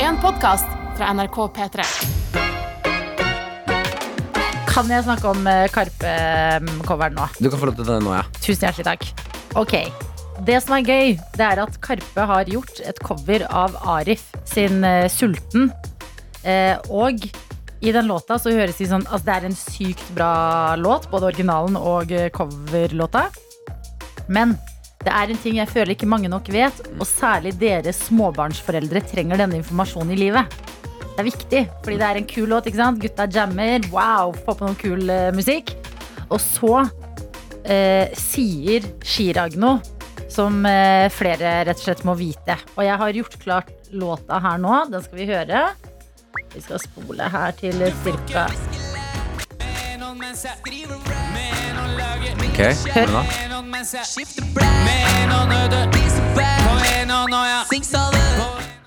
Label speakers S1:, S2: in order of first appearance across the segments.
S1: en podkast fra NRK P3.
S2: Kan jeg snakke om eh, Karpe-coveren nå?
S3: Du kan få lov til det nå, ja.
S2: Tusen hjertelig takk. Ok. Det som er gøy, det er at Karpe har gjort et cover av Arif sin eh, Sulten. Eh, og i den låta så høres det sånn Altså, det er en sykt bra låt, både originalen og eh, coverlåta. Men det er en ting jeg føler ikke mange nok vet, og særlig dere småbarnsforeldre trenger denne informasjonen i livet. Det er viktig, fordi det er en kul låt, ikke sant? Gutta jammer, wow, få på noe kul eh, musikk. Og så eh, sier Chirag noe som eh, flere rett og slett må vite. Og jeg har gjort klart låta her nå. Den skal vi høre. Vi skal spole her til cirka
S3: Ok, hvordan da?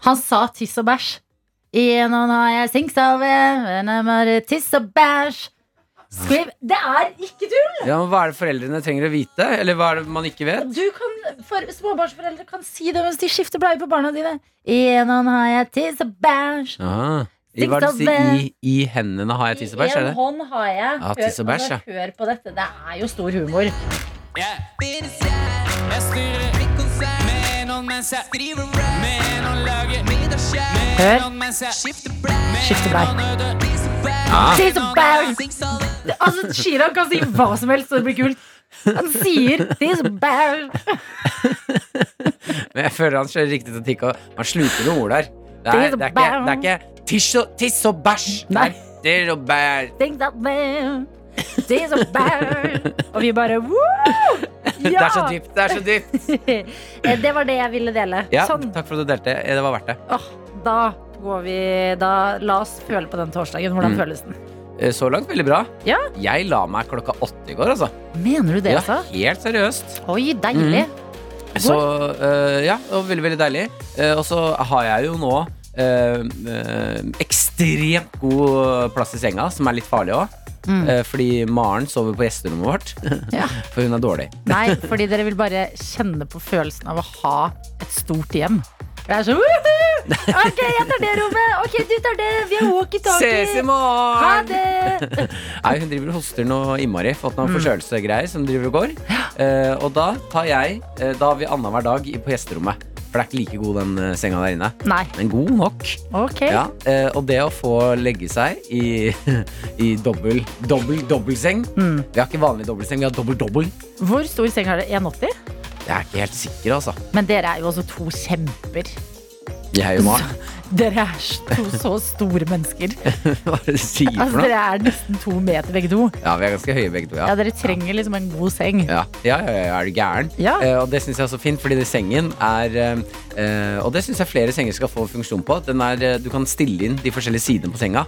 S2: Han sa tiss og bæsj. I nå har jeg singsave, men jeg bare tiss og bæsj. Skriv Det er ikke tull!
S3: Ja, men Hva er det foreldrene trenger å vite? Eller hva er det man ikke vet?
S2: Du kan, for, småbarnsforeldre kan si det mens de skifter bleie på barna dine. I nå har jeg tiss og bæsj.
S3: Ah, i, hva er det du sier? I, I hendene har jeg tiss og bæsj,
S2: I
S3: er
S2: en
S3: det?
S2: hånd har jeg.
S3: Ja, tiss og
S2: Hør-
S3: bæsj, ja.
S2: altså, hør på dette. Det er jo stor humor. Hør. Skifte blei.
S4: Ah.
S3: Ah.
S2: Tiss og bæsj. Altså, Chirag kan si hva som helst, og det blir kult. Han sier tiss og bæsj.
S3: Men jeg føler han kjører riktig statikk, og man sluker noen ord der. Det
S2: Tiss
S3: er,
S2: og
S3: det er ikke, det er ikke tiss og, tiss og bæsj!
S2: Nei.
S3: Det er tiss og bæsj.
S2: Tiss og bæsj. Tiss og bæsj. Og vi bare woo!
S3: Det er så
S2: Ja!
S3: dypt, det er så dypt!
S2: Eh, Det var det jeg ville dele.
S3: Ja,
S2: Sånn.
S3: Takk for at du delte. Det var verdt det.
S2: Åh, da går vi Da la oss føle på den torsdagen. Hvordan
S3: Mm.
S2: føles den?
S3: Eh, Så langt veldig bra.
S2: Ja.
S3: Jeg la meg klokka åtte i går, altså.
S2: Mener du det,
S3: Ja, Mm.
S2: altså?
S3: helt seriøst.
S2: Oi, deilig.
S3: Så øh, ja, og veldig, veldig deilig. Eh, og så har jeg jo nå eh, eh, ekstremt god plass i senga, som er litt farlig òg.
S2: Mm.
S3: fordi Maren sover på gjesterommet vårt,
S2: Ja.
S3: for hun er dårlig.
S2: Nei, fordi dere vil bare kjenne på følelsen av å ha et stort hjem. Det er så «Woohoo! Ok, jeg tar det rommet. Ok, du tar det. Vi har
S3: Ses
S2: walkietalkie.
S3: i
S2: Ha
S3: morgen!
S2: det. Mm.
S3: Nei, hun driver og hoster noe innmari, fått noen forkjølelsegreier som driver og går. Eh, og da tar jeg eh, Da har vi annenhver dag i- på gjesterommet. For det er ikke like god den eh, senga der inne.
S2: Nei.
S3: Men god nok.
S2: Ok.
S3: Ja, eh, og det å få legge seg i, i dobbel, dobbel, dobbeltseng
S2: Mm.
S3: Vi har ikke vanlig dobbeltseng, vi har dobbel-dobbel.
S2: Hvor stor seng har dere? 1,80?
S3: Jeg er ikke helt sikker, altså.
S2: Men dere er jo også to kjemper.
S3: Jeg og Maren.
S2: Dere er s- to så store mennesker.
S3: Hva er det du sier for
S2: Altså,
S3: noe?
S2: dere er nesten to meter begge to.
S3: Ja, vi er ganske høye begge to, ja.
S2: Ja, dere trenger liksom en god seng.
S3: Ja, ja, ja, ja er du gæren?
S2: Ja.
S3: Eh, og det syns jeg er så fint, fordi det sengen er eh, eh, Og det syns jeg flere senger skal få funksjon på. Den er, eh, du kan stille inn de forskjellige sidene på senga.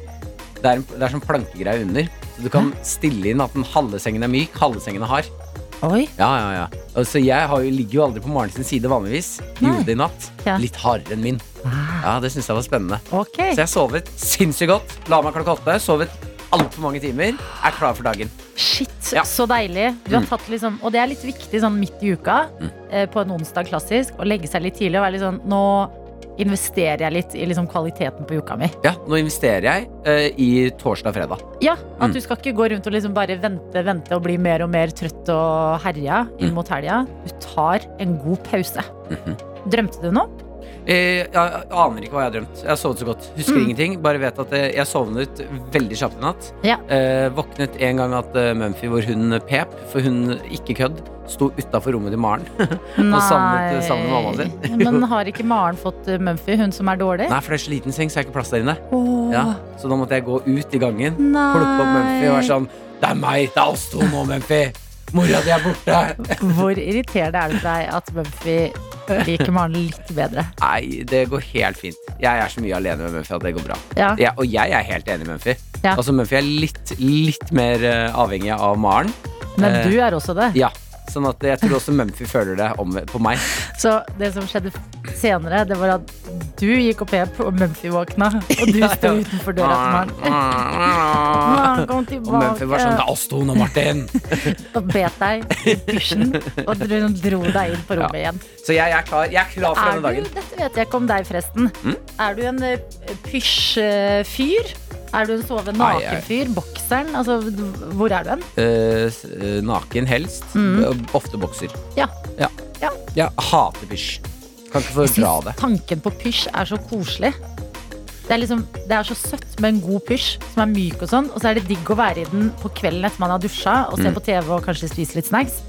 S3: Det er, en, det er sånn plankegreie under. Så du kan stille inn at den halve sengen er myk, halve sengen er hard.
S2: Oi.
S3: Ja, ja, ja. Altså, jeg har jo, ligger jo aldri på Maren sin side vanligvis. Gjorde det i natt.
S2: Ja. Ah.
S3: Litt hardere enn min. Ja, Det syns jeg var spennende.
S2: Ok.
S3: Så jeg sovet sinnssykt godt. La meg klokka åtte. Sovet altfor mange timer. Er klar for dagen.
S2: Shit,
S3: Ja.
S2: så deilig. Du har
S3: Mm.
S2: tatt liksom, og det er litt viktig sånn midt i uka, eh, på en onsdag klassisk, å legge seg litt tidlig og være litt sånn Nå investerer jeg litt i liksom kvaliteten på uka mi.
S3: Ja, Nå investerer jeg eh, i torsdag-fredag.
S2: Ja, At
S3: Mm.
S2: du skal ikke gå rundt og liksom bare vente vente og bli mer og mer trøtt og herja inn
S3: Mm. Mhm.
S2: mot helga. Du tar en god pause. Drømte du nå?
S3: Eh, jeg, jeg aner ikke hva jeg har drømt. Jeg har sovet så godt. Husker
S2: Mm.
S3: ingenting. Bare vet at eh, jeg sovnet veldig kjapt i natt.
S2: Ja.
S3: Eh, våknet en gang at eh, Mumphy, hvor hun pep, for hun ikke kødd, sto utafor rommet til Maren. Og savnet- eh, savnet mammaen sin.
S2: Men har ikke Maren fått eh, Mumphy, hun som er dårlig?
S3: Nei, for det er så liten seng, så jeg har ikke plass der inne.
S2: Åh,
S3: Ja, så da måtte jeg gå ut i gangen,
S2: Nei.
S3: plukke opp Mumphy og være sånn Det er meg! Det er oss to nå, Mumphy! Mora di er borte!
S2: Hvor irriterende er det for deg at Mumphy liker Maren litt bedre?
S3: Nei, det går helt fint. Jeg er så mye alene med Mumphy at det går bra.
S2: Ja.
S3: Jeg, og jeg er helt enig med Mumphy.
S2: Ja.
S3: Altså, Mumphy er litt, litt mer eh, avhengig av Maren.
S2: Men
S3: Eh,
S2: du er også det.
S3: Ja, sånn at jeg tror også Mumphy føler det om, på meg.
S2: Så det som skjedde senere, det var at du gikk opp her på Mumphy-våkna, og du sto utenfor døra til Maren. Maren, kom
S3: Ah, Og Mumphy var
S2: tilbake!
S3: sånn Det er oss to nå, Martin!
S2: Og bet deg i dusjen, og dro, dro deg inn på rommet igjen.
S3: Så jeg er klar, jeg er klar for
S2: Er
S3: denne dagen. Mm?
S2: du, dette vet jeg ikke om deg, forresten. Er du en eh, pysj-fyr? Er du en sove
S3: Nei, jeg-
S2: naken-fyr? Bokseren? Altså, d- hvor er du hen?
S3: Eh, s- eh, naken helst. Eh, Ofte bokser.
S2: Mm. Ja.
S3: Ja.
S2: Ja.
S3: Jeg hater pysj. Kan ikke få dra det.
S2: Tanken på pysj er så koselig. Det er, liksom, det er så søtt med en god pysj som er myk, og sånn Og så er det digg å være i den på kvelden etter man har dusja og
S3: Mm.
S2: se på TV og kanskje spise litt snacks.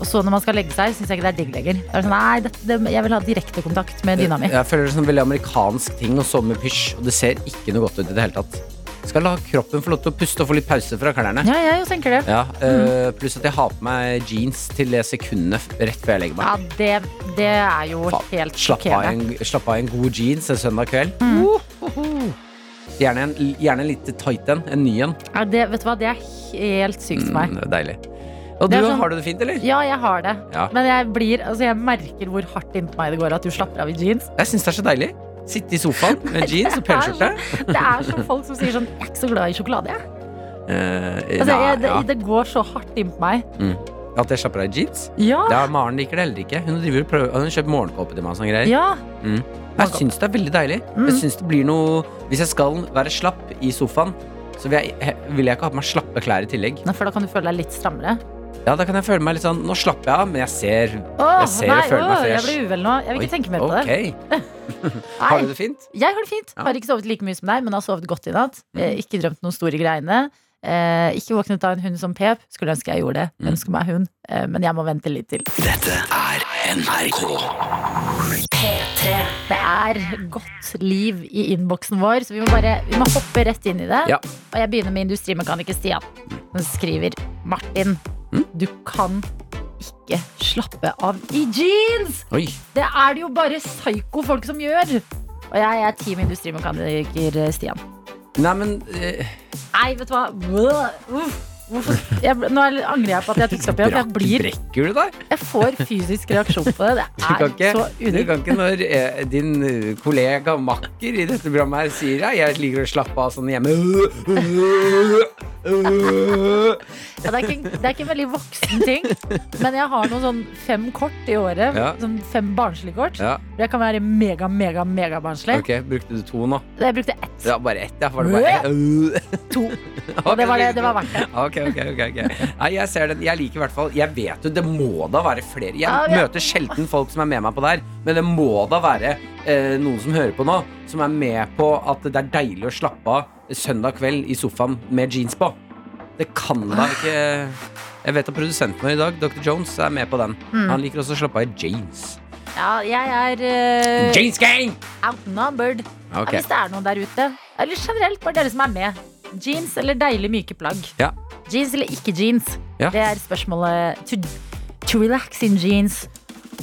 S2: Og så når man skal legge seg, syns jeg ikke det er digg lenger. Det er sånn, nei, dette- det, jeg vil ha direktekontakt med dyna mi.
S3: Jeg føler det som en veldig amerikansk ting å sove med pysj, og det ser ikke noe godt ut i det hele tatt. Skal la kroppen få lov til å puste og få litt pause fra klærne.
S2: Ja, Mm. jeg jo tenker det.
S3: Ja, eh, Pluss at jeg har på meg jeans til det sekundet f- rett før jeg legger meg.
S2: Ja, det, det er jo
S3: Faen,
S2: helt
S3: Slapp av,
S2: sjokkerende. Mm.
S3: en, slapp av en god jeans en søndag kveld. Wohoho. Gjerne en, gjerne en litt tight en. En ny en.
S2: Ja, det, vet du hva, det er helt sykt for meg.
S3: Mm, det er deilig. Og du,
S2: Det er sånn-
S3: har du det fint, eller?
S2: Ja, jeg har det.
S3: Ja.
S2: Men jeg, blir, altså, jeg merker hvor hardt innpå meg det går at du slapper av i jeans.
S3: Jeg syns det er så deilig. Sitte i sofaen med jeans og pelskjorte.
S2: Det er som folk som sier sånn Jeg er ikke så glad i sjokolade, jeg.
S3: Eh,
S2: Altså,
S3: nei,
S2: jeg det,
S3: ja. Mm.
S2: det går så hardt innpå meg.
S3: At jeg slapper av i jeans?
S2: Ja!
S3: Ja, Maren liker det heller ikke. Hun driver og prøver Hun har kjøpt morgenkåpe til meg og sånne greier.
S2: ja. Mm.
S3: Mm. Jeg syns det er veldig deilig. Jeg synes det blir noe Hvis jeg skal være slapp i sofaen, så vil jeg, he- vil jeg ikke ha på meg slappe klær i tillegg.
S2: Nei, For da kan du føle deg litt strammere.
S3: Ja, Da kan jeg føle meg litt sånn Nå slapper jeg av, men jeg ser
S2: Åh,
S3: Jeg ser og føler meg
S2: åh, Jeg
S3: fresh.
S2: blir uvel nå. Jeg vil
S3: Oi,
S2: ikke tenke mer på det.
S3: ok. Har du
S2: Nei.
S3: det fint?
S2: Jeg har det fint.
S3: Ja. Mm.
S2: Har ikke sovet like mye som deg, men har sovet godt i natt. Eh, ikke drømt noen store greiene. Eh, ikke våknet av en hund som pep. Skulle ønske jeg gjorde det.
S3: Mm.
S2: Ønsker meg hund. Eh, men jeg må vente litt til. Det er godt liv i innboksen vår, så vi må bare vi må hoppe rett inn i det.
S3: Ja.
S2: Og jeg begynner med industrimekaniker Stian. Han skriver Martin,
S3: Mm?
S2: du kan ikke slappe av i jeans!
S3: Oi.
S2: Det er det jo bare psyko folk som gjør! Og jeg er team industrimekaniker eh, Stian.
S3: Nei, men eh,
S2: Nei, vet du hva? Blæh! Uff. Hvorfor? Jeg, ble- nå er- angrer jeg på at jeg tok det opp igjen. for Jeg,
S3: brakk-
S2: blir,
S3: brekker du deg?
S2: jeg får fysisk reaksjon på det.
S3: Du kan
S2: Det
S3: ikke,
S2: er så
S3: du
S2: udigg.
S3: kan ikke når eh, din eh, kollega makker i dette programmet her sier «Nei, jeg liker å slappe av sånn hjemme.
S2: Ja, det, er ikke, det er ikke en veldig voksen ting, men jeg har noen sånn fem kort i året.
S3: Ja.
S2: Sånn fem barnslige kort.
S3: Ja,
S2: Jeg kan være mega, mega, mega barnslig.
S3: ok, Brukte du to nå?
S2: Jeg brukte ett,
S3: Ja, bare ett, ja. Var det bare ett?
S2: to, og det var, det, det var verdt det.
S3: Ok, ok, ok. ok. Nei, jeg ser den. Jeg liker i hvert fall Jeg vet jo, det må da være flere. Jeg
S2: Ja, ja.
S3: møter sjelden folk som er med meg på det her, men det må da være eh, noen som hører på nå, som er med på at det er deilig å slappe av søndag kveld i sofaen med jeans på. Det kan
S2: Ah.
S3: da ikke Jeg vet at produsenten vår i dag, Dr. Jones, er med på den.
S2: Mm.
S3: Han liker også å slappe av i jeans.
S2: Ja, jeg er eh,
S3: Jeans gang!
S2: outnumbered. Ja,
S3: Ok.
S2: Hvis det er noen der ute. Eller generelt, bare dere som er med. Jeans eller deilig myke plagg.
S3: Ja.
S2: Jeans eller ikke jeans.
S3: Ja.
S2: Det er spørsmålet. To, to relax in jeans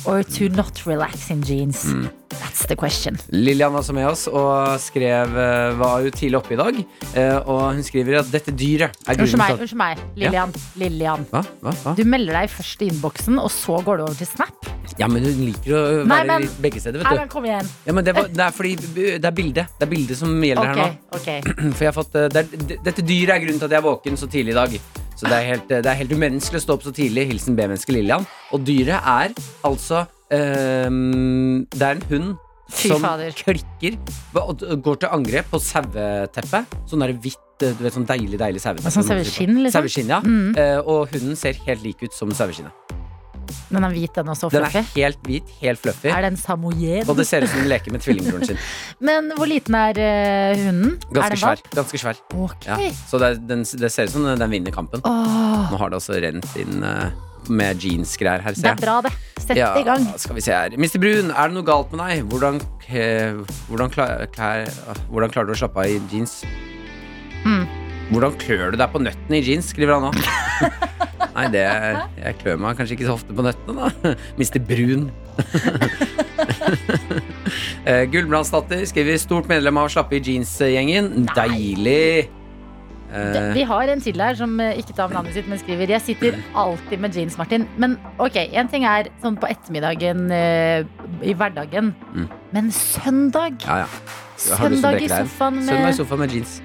S2: or to not relax in jeans.
S3: Mm.
S2: That's the question.
S3: Lillian var også med oss og skrev, eh, var jo tidlig oppe i dag. eh, Og hun skriver at dette dyret er grunnen
S2: Unnskyld meg,
S3: til at
S2: unnskyld meg. Lillian. Lillian.
S3: Hva? Hva? Hva?
S2: Du melder deg først i innboksen, og så går du over til Snap.
S3: Ja, men hun liker å være
S2: Nei, men-
S3: i begge steder,
S2: Nei,
S3: vet
S2: men
S3: du.
S2: kom igjen.
S3: Ja, men det, var, det er fordi det er bildet. Det er bildet som gjelder
S2: Ok,
S3: her nå.
S2: ok.
S3: For jeg har fått, eh, det er, d- dette dyret er grunnen til at jeg er våken så tidlig i dag. Så det er helt, eh, det er helt umenneskelig å stå opp så tidlig. Hilsen B-menneske Lillian. Og dyret er altså ehm, Det er en hund
S2: Fy
S3: som
S2: fader.
S3: klikker og og går til angrep på saueteppet. Sånn der hvitt eh, du vet, sånn deilig deilig saueteppe.
S2: Sånn saueskinn, liksom?
S3: Saueskinn, ja.
S2: Mm.
S3: Eh, og hunden ser helt lik ut som saueskinnet.
S2: Den er hvit, den også.
S3: Den er
S2: fluffy.
S3: helt hvit, helt fluffy.
S2: Er det en samoyed?
S3: Og det ser ut som den leker med tvillingbroren sin.
S2: Men hvor liten er eh, hunden? er
S3: Ganske
S2: den
S3: svær.
S2: valp?
S3: Ganske svær.
S2: Ok.
S3: Ja. Så det, er- den, det ser ut som den vinner kampen.
S2: Åh,
S3: Nå har det altså rent inn eh, med jeansgreier her,
S2: det
S3: ser
S2: er
S3: jeg.
S2: bra, det. Sett
S3: Ja,
S2: i gang.
S3: skal vi se her. Mr. Brun, er det noe galt med deg? Hvordan, eh, hvordan, klar, klær, ah, hvordan klarer du å slappe av i jeans?
S2: Mm.
S3: Hvordan klør du deg på nøttene i jeans, skriver han nå. Nei, det, jeg klør meg kanskje ikke så ofte på nøttene, da. Mr. Brun. eh, Gulbrandsdatter skriver stort medlem av Slappe i jeans-gjengen. Deilig. Eh,
S2: Vi har en til her som eh, ikke tar navnet sitt, men skriver Jeg sitter alltid med jeans, Martin. Men ok, en ting er sånn på ettermiddagen eh, i hverdagen.
S3: Mm.
S2: Men søndag!
S3: ja, ja. Har du som
S2: Søndag i
S3: dekkeleir?
S2: sofaen
S3: Søndag i
S2: med
S3: sofaen med jeans.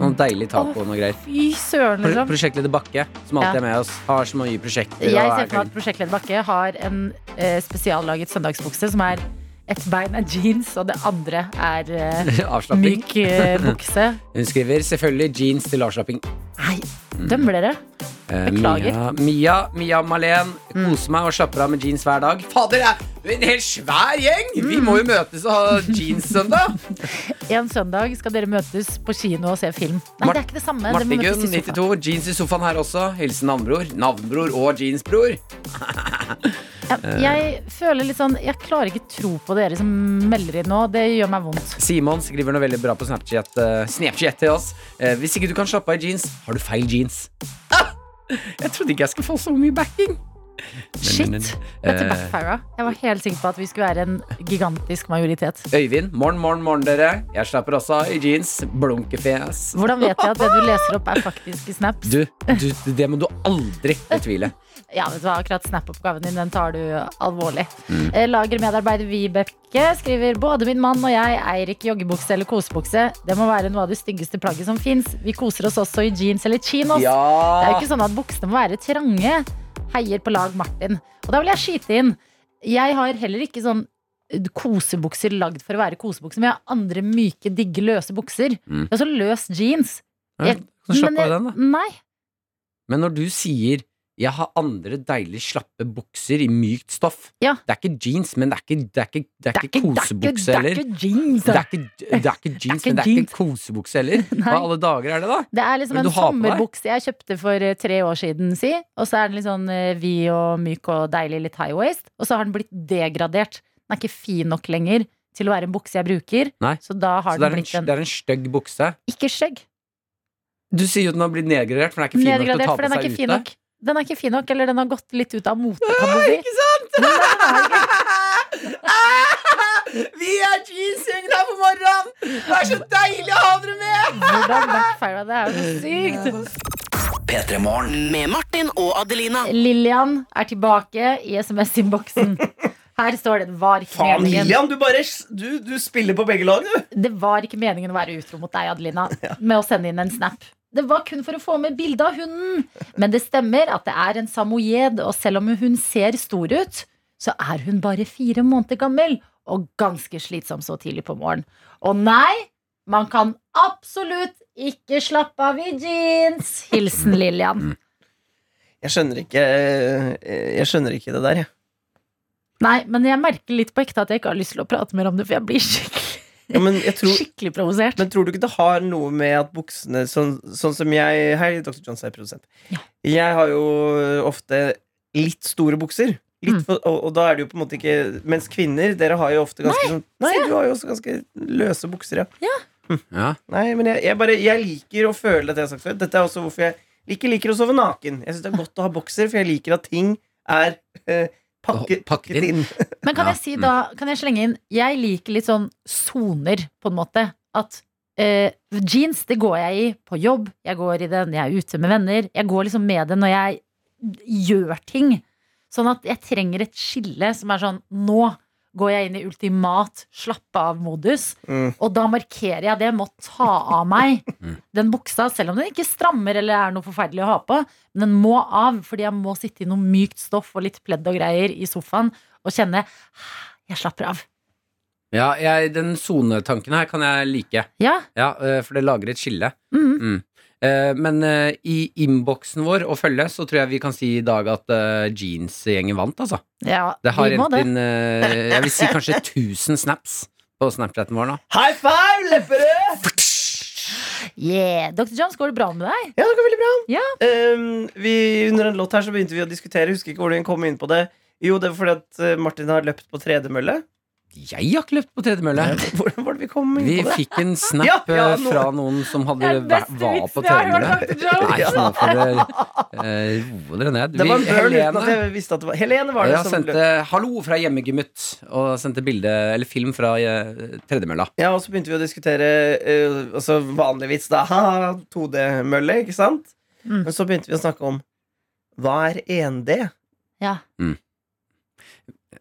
S3: Noen deilig taco og noe greier.
S2: Fy søren,
S3: Pro
S2: liksom.
S3: prosjektleder Bakke, som
S2: Ja.
S3: alltid er med oss, har så mye prosjekter.
S2: Jeg
S3: og
S2: ser
S3: er
S2: for meg at prosjektleder Bakke har en eh, spesiallaget søndagsbukse som er et bein er jeans, og det andre er eh,
S3: Avslapping.
S2: myk eh, bukse.
S3: Hun skriver selvfølgelig jeans til avslapping.
S2: Nei,
S3: Mm.
S2: dømmer dere?
S3: Eh,
S2: Beklager. Mm.
S3: Mia, Mia, Mia Malén, koser meg og slapper av med jeans hver dag. Fader, det er en helt svær gjeng! Vi
S2: Mm.
S3: må jo møtes og ha jeans-søndag.
S2: En søndag skal dere møtes på kino og se film. Nei,
S3: Mart-
S2: det er ikke det samme. Dere må møtes
S3: Martigun,
S2: i sofaen.
S3: 92, jeans i sofaen her også. Hilsen navnbror. Navnbror og jeansbror.
S2: Ja, jeg føler litt sånn Jeg klarer ikke tro på dere som melder inn nå. Det gjør meg vondt.
S3: Simon skriver noe veldig bra på Snapchat, eh, Snapchat til oss. Eh, hvis ikke du kan slappe av i jeans, har du feil jeans. Ah! Jeg trodde ikke jeg skulle få så mye backing.
S2: Shit.
S3: men,
S2: Dette
S3: eh,
S2: backfira. Jeg var helt sikker på at vi skulle være en gigantisk majoritet.
S3: Eh, Øyvind, morgen, morgen, morgen, dere. Jeg slapper også av i jeans. Blunkefjes.
S2: Hvordan vet jeg at det du leser opp, er faktisk i snaps?
S3: Du, du, det må du aldri betvile.
S2: Ja, vet du hva, akkurat snap-oppgaven din, den tar du alvorlig.
S3: Mm.
S2: Eh, Lagermedarbeider Vibeke skriver både min mann og jeg eier ikke joggebukse eller kosebukse. Det må være noe av det styggeste plagget som fins. Vi koser oss også i jeans eller chinos. Det er jo
S3: Ja!
S2: ikke sånn at buksene må være trange. Heier på lag Martin. Og da vil jeg skyte inn. Jeg har heller ikke sånn kosebukser lagd for å være kosebukser, men jeg har andre myke, digge, løse bukser.
S3: Mm.
S2: Jeg har så løs jeans.
S3: Ja, så slapp
S2: Men jeg-
S3: av den, da.
S2: Nei.
S3: Men når du sier 'jeg har andre deilig slappe bukser i mykt stoff'
S2: Ja.
S3: Det er ikke jeans, men det er ikke, det er ikke, det er ikke kosebukse
S2: det er
S3: heller.
S2: ikke jeans. altså.
S3: Det er ikke, det er ikke jeans,
S2: ikke
S3: men det er
S2: jeans.
S3: ikke kosebukse heller.
S2: Nei.
S3: Hva alle dager er det, da?
S2: Det er liksom
S3: Men
S2: en
S3: du har på deg?
S2: sommerbukse jeg kjøpte for eh, tre år siden, si. Og så er den litt sånn eh, vid og myk og deilig, litt high waist. Og så har den blitt degradert. Den er ikke fin nok lenger til å være en bukse jeg bruker.
S3: Nei.
S2: Så da har
S3: Så
S2: den
S3: det er en,
S2: blitt en
S3: det er en stygg bukse.
S2: Ikke skjegg.
S3: Du sier jo at den har blitt nedgradert, for den er ikke fin nok til
S2: Nedgradert,
S3: å
S2: for den er
S3: ta på
S2: ikke
S3: seg
S2: fin
S3: ute.
S2: nok. Den er ikke fin nok, eller den har gått litt ut av mote, kan du si.
S3: Vi er jeansgjengen her på morgenen! Det er så deilig å ha dere med!
S2: Hvordan backfira det er jo så sykt.
S4: Med Martin og Adelina.
S2: Lillian er tilbake i SMS-innboksen. Her står det det var ikke
S5: Faen,
S2: meningen.
S5: Lillian, du bare du, du spiller på begge lag, du.
S2: Det var ikke meningen å være utro mot deg, Adelina, med å sende inn en snap. Det var kun for å få med bilde av hunden. Men det stemmer at det er en samoyed, og selv om hun ser stor ut, så er hun bare fire måneder gammel og ganske slitsom så tidlig på morgenen. Og nei, man kan absolutt ikke slappe av i jeans. Hilsen Lillian.
S5: Jeg skjønner ikke eh, Jeg skjønner ikke det der, jeg.
S2: Nei, men jeg merker litt på ekte at jeg ikke har lyst til å prate mer om det, for jeg blir skikkelig,
S5: Ja, men, jeg tror,
S2: skikkelig provosert.
S5: men tror du ikke det har noe med at buksene Sånn, sånn som jeg Hei, Dr. Johns er produsent.
S2: Ja.
S5: Jeg har jo ofte litt store bukser. Litt
S2: Mm.
S5: for, og, og da er det jo på en måte ikke Mens kvinner, dere har jo ofte ganske sånn Nei, du har jo også ganske løse bukser, ja.
S3: Ja.
S5: Nei, men jeg, jeg bare Jeg liker å føle dette jeg har sagt før. Dette er også hvorfor jeg ikke liker å sove naken. Jeg syns det er godt å ha bokser, for jeg liker at ting er eh, pakket,
S3: Å, pakket
S5: pakket inn.
S2: Men kan
S3: Ja,
S2: jeg si da, kan jeg slenge inn Jeg liker litt sånn soner, på en måte. At eh, jeans, det går jeg i på jobb. Jeg går i det når jeg er ute med venner. Jeg går liksom med det når jeg gjør ting. Sånn at jeg trenger et skille som er sånn Nå går jeg inn i ultimat slappe av-modus.
S5: Mm.
S2: Og da markerer jeg det med å ta av meg den buksa, selv om den ikke strammer eller er noe forferdelig å ha på. Men den må av, fordi jeg må sitte i noe mykt stoff og litt pledd og greier i sofaen og kjenne jeg slapper av.
S3: Ja, jeg, den sonetanken her kan jeg like.
S2: Ja,
S3: Ja, eh, for det lager et skille.
S2: mhm.
S3: Mm. Eh, Men eh, i innboksen vår å følge, så tror jeg vi kan si i dag at eh, jeansgjengen vant, altså.
S2: ja
S3: Det har
S2: vi må
S3: rent
S2: det.
S3: inn eh, Jeg vil si kanskje 1000 snaps på Snapchaten vår nå.
S5: High five, Lepperød!
S2: Yeah. Dr. Jones, går det bra med deg?
S5: Ja, det går veldig bra.
S2: Ja.
S5: Ehm, vi, under en låt her så begynte vi å diskutere. Husker ikke hvordan vi kom inn på det. Jo, det er fordi at eh, Martin har løpt på tredemølle.
S3: Jeg har ikke løpt på tredemølle.
S5: Hvordan var det vi kom inn
S3: Vi
S5: på det.
S3: fikk en snap
S5: Ja, ja,
S3: eh,
S5: nå-
S3: fra noen som hadde
S2: Det er den
S3: væ-
S2: beste
S3: var på
S2: vitsen jeg har hørt,
S3: tømmene.
S2: Dr. Jones.
S3: Nei, så nå får dere eh, roe dere ned.
S5: Det var en burn uten at
S3: Helene,
S5: jeg visste at det var Helene var det
S3: ja,
S5: som
S3: sendte 'hallo' fra hjemmegymmet og sendte bilde, eller film fra eh, tredemølla.
S5: Ja, og så begynte vi å diskutere eh, altså vanlig vits, da. Haha, 2D-mølle, ikke sant?
S2: Mm.
S5: Men så begynte vi å snakke om hva er 1D?
S2: Ja.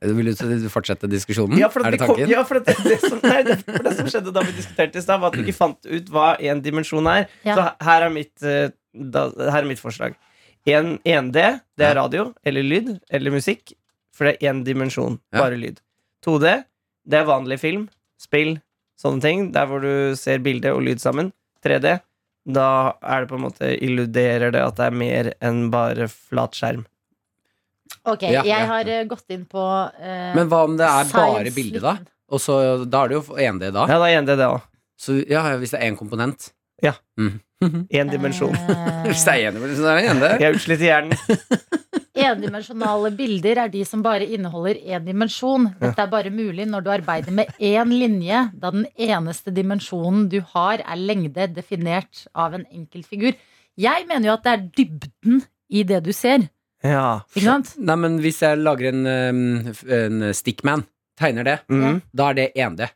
S3: Vil du fortsette diskusjonen?
S5: Ja, for,
S3: Mm, er
S5: at vi
S3: det
S5: kom,
S3: tanken?
S5: ja, for, at det, det, som, nei, det, for det som skjedde da vi diskuterte i stad, var at vi ikke fant ut hva én dimensjon er.
S2: Ja.
S5: Så her er mitt, eh, da, her er mitt forslag. En, 1D, det er radio eller lyd eller musikk, for det er én dimensjon,
S3: Ja.
S5: bare lyd. 2D, det er vanlig film, spill, sånne ting, der hvor du ser bilde og lyd sammen. 3D, da er det på en måte illuderer det at det er mer enn bare flatskjerm.
S2: Ok,
S3: Ja, ja.
S2: jeg har eh, gått inn på eh,
S3: Men hva om det er bare
S2: science
S3: bilde, da?
S2: fiction.
S3: Og så, da er det jo 1D, da.
S5: Ja, da er 1D, det òg.
S3: Så ja, hvis det er én komponent.
S5: Én dimensjon.
S2: Eh,
S3: Hvis det er én, så er det 1D.
S5: Jeg er utslett i hjernen.
S2: Endimensjonale Eh, bilder er de som bare inneholder én dimensjon. Dette er bare mulig når du arbeider med én linje, da den eneste dimensjonen du har, er lengde definert av en enkelt figur. Jeg mener jo at det er dybden i det du ser.
S5: Ja.
S2: Ikke sant?
S3: Nei, men hvis jeg lager en, um, f- en stickman, tegner det,
S5: Mm.
S3: da er det 1D.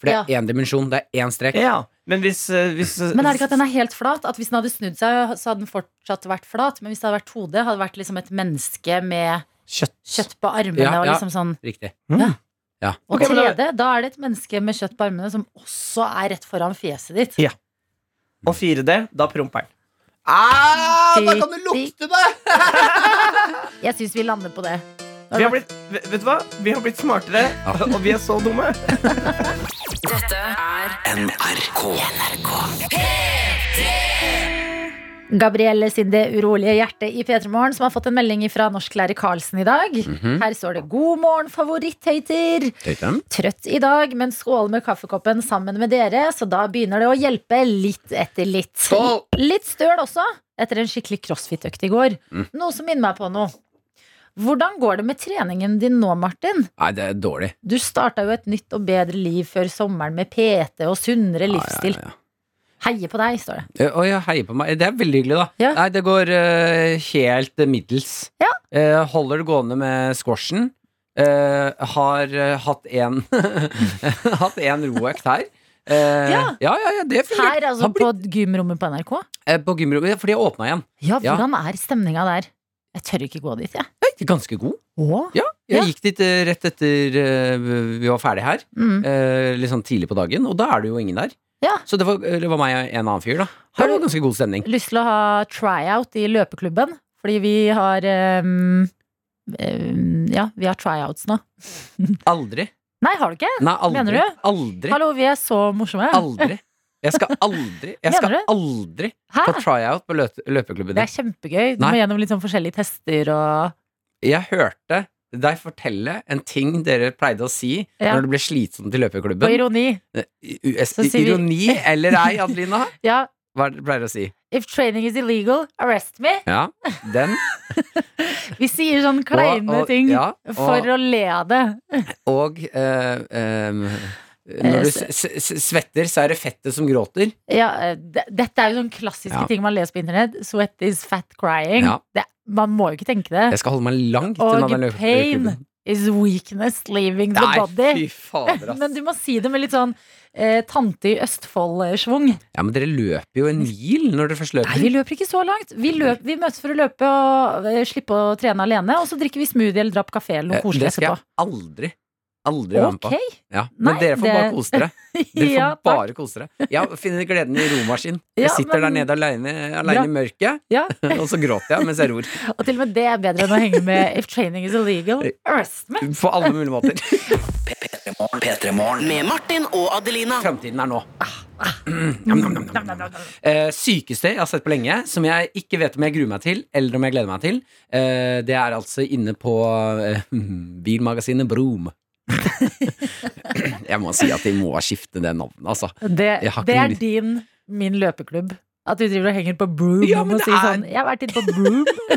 S3: For det er én dimensjon, det er én strek.
S5: Ja, men hvis, eh, hvis eh,
S2: Men er det ikke at den er helt flat? At Hvis den hadde snudd seg, så hadde den fortsatt vært flat. Men hvis det hadde vært 2D, hadde det vært liksom et menneske med
S5: Kjøtt.
S2: kjøtt på armene.
S3: Ja,
S2: Og
S3: ja.
S2: liksom sånn
S3: Riktig.
S2: Og
S5: Ok, men da-
S2: 3D, da er det et menneske med kjøtt på armene som også er rett foran fjeset ditt.
S5: og 4D, da promper den.
S3: Ah,
S2: da kan du lukte
S3: det!
S2: Jeg syns vi lander på det.
S5: Vi har blitt, v- vet du hva? Vi har blitt smartere, og vi er så dumme.
S4: NRK.
S2: Gabrielle sin Det urolige hjertet i P3 Morgen, som har fått en melding fra norsklærer Karlsen i dag.
S5: Mhm.
S2: Her står det 'God morgen, favoritthøyter'. Trøtt i dag, men skål med kaffekoppen sammen med dere, så da begynner det å hjelpe litt etter litt.
S3: Skål!
S2: Litt støl også, etter en skikkelig crossfit-økt i går.
S3: Mm.
S2: Noe som minner meg på noe. Hvordan går det med treningen din nå, Martin?
S3: Nei, det er dårlig.
S2: Du starta jo et nytt og bedre liv før sommeren med PT og sunnere livsstil.
S3: Ja, ja, ja.
S2: Heier på deg, står det.
S3: Eh, Å ja, heier på meg. Det er veldig hyggelig, da.
S2: Ja.
S3: Nei, det går eh, helt eh, middels.
S2: Ja.
S3: Eh, holder det gående med squashen. Eh, har eh, hatt en Hatt en roøkt her. Eh, ja.
S2: Ja.
S3: ja, ja, det fungerer.
S2: Her, altså
S3: Har blitt-
S2: på gymrommet på NRK.
S3: eh, på gymrommet, fordi jeg åpna igjen.
S2: Ja,
S3: Ja.
S2: hvordan er stemninga der? Jeg tør ikke gå dit, jeg.
S3: Eh, Ganske god. Ja, jeg
S2: Ja.
S3: gikk dit eh, rett etter eh, vi var ferdig her.
S2: Mm.
S3: eh, litt sånn tidlig på dagen, og da er det jo ingen der.
S2: Ja.
S3: Så det var, det var meg og en annen fyr, da.
S2: Har
S3: Det var
S2: du-
S3: ganske god stemning.
S2: Lyst til å ha tryout i løpeklubben, fordi vi har ehm, ehm, Ja, vi har tryouts nå.
S3: Aldri.
S2: Nei, har du ikke?
S3: Nei, aldri.
S2: Mener du?
S3: Aldri.
S2: Hallo, vi er så morsomme.
S3: Aldri. Jeg skal aldri Jeg skal
S2: Mener
S3: aldri
S2: Hæ?
S3: på tryout på løte- løpeklubben
S2: Det
S3: din.
S2: er kjempegøy. Du
S3: Nei.
S2: må gjennom litt sånn forskjellige tester og
S3: Jeg hørte deg fortelle en ting dere pleide å si
S2: Ja.
S3: når det ble slitsomt i
S2: Og
S3: løpeklubben. Eh,
S2: ironi.
S3: I- i- es-
S2: Så sier vi-
S3: Ironi eller ei, Adelina?
S2: Ja.
S3: Hva er det dere pleier å si?
S2: If training is illegal, arrest me.
S3: Ja, den.
S2: Vi sier sånn kleine
S3: Og- og-
S2: ting
S3: ja, og-
S2: for å le av det.
S3: Og eh, em,
S2: Eh,
S3: når du s s s svetter, så er det fettet som gråter.
S2: Ja, eh, d- dette er jo sånne klassiske
S3: Ja.
S2: ting man leser på internett. Sweat is fat crying.
S3: Ja.
S2: Det, man må jo ikke tenke det.
S3: Jeg skal holde meg langt
S2: Og
S3: unna den løpe-
S2: pain
S3: løpeklubben.
S2: is weakness leaving the
S3: Nei,
S2: body.
S3: fy fader, ass.
S2: Men du må si det med litt sånn eh, tante i Østfold-schwung.
S3: Ja, men dere løper jo en mil når dere først
S2: Nei,
S3: løper.
S2: vi løper ikke så langt. Vi, løp, vi møtes for å løpe og eh, slippe å trene alene. Og så drikker vi smoothie eller drar på kafé eller
S3: Eh,
S2: noe koselig
S3: det skal
S2: etterpå.
S3: jeg aldri, aldri være med på.
S2: Ok.
S3: Ja. Men
S2: Nei,
S3: dere får bare
S2: det-
S3: kose dere. Dere får
S2: Ja, takk.
S3: bare kose dere. Jeg finner gleden i romaskin.
S2: Ja,
S3: Jeg sitter der
S2: men-
S3: nede alene, alene
S2: Bra.
S3: i mørket,
S2: Ja.
S3: og så gråter jeg mens jeg ror.
S2: Og til og med det er bedre enn å henge med If training is illegal, arrest me.
S3: På alle mulige måter.
S4: Med Martin og Adelina.
S3: Framtiden er nå. Nam, nam, nam, nam, nam. Eh, sykeste jeg har sett på lenge, som jeg ikke vet om jeg gruer meg til, eller om jeg gleder meg til, eh, det er altså inne på eh, bilmagasinet Brom. jeg må si at de må skifte det navnet, altså.
S2: Det,
S3: Jeg har ikke
S2: det er
S3: mulighet.
S2: din, min løpeklubb. At du driver og henger på broom
S3: Ja,
S2: og
S3: men
S2: må
S3: det
S2: si
S3: er-
S2: sånn Jeg har vært inne på broom.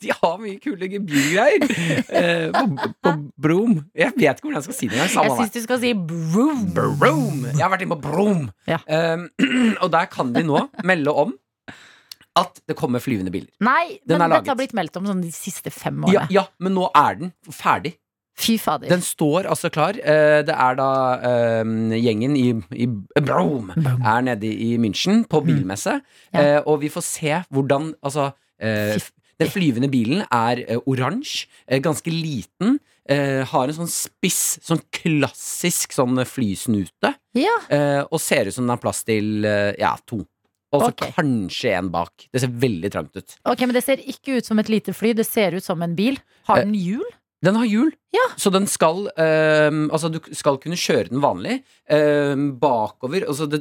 S3: De har mye kule gebyrgreier eh, på, på Brom. Jeg vet ikke hvordan jeg skal si det engang.
S2: Jeg
S3: Samme det.
S2: syns du skal si broom.
S3: Brom! Jeg har vært inne på Brom.
S2: Ja.
S3: Um, og der kan de nå melde om at det kommer flyvende biler.
S2: Nei,
S3: Den
S2: men
S3: er laget.
S2: dette har blitt meldt om sånn de siste fem
S3: Ja,
S2: årene.
S3: ja, men nå er den ferdig.
S2: Fy fader.
S3: Den står altså klar. Eh, Det er da eh, gjengen i, i Brom er nede i München på bilmesse,
S2: Mm. Ja.
S3: Eh, og vi får se hvordan Altså eh,
S2: Fy-
S3: den flyvende bilen er eh, oransje, eh, ganske liten, eh, har en sånn spiss, sånn klassisk sånn flysnute,
S2: Ja.
S3: eh, og ser ut som den har plass til eh, ja, to. Og så
S2: Ok.
S3: kanskje en bak. Det ser veldig trangt ut.
S2: Ok, men det ser ikke ut som et lite fly. Det ser ut som en bil. Har
S3: Eh,
S2: den hjul?
S3: Den har hjul,
S2: Ja.
S3: så den skal ehm, Altså, du skal kunne kjøre den vanlig ehm, bakover. Altså, det,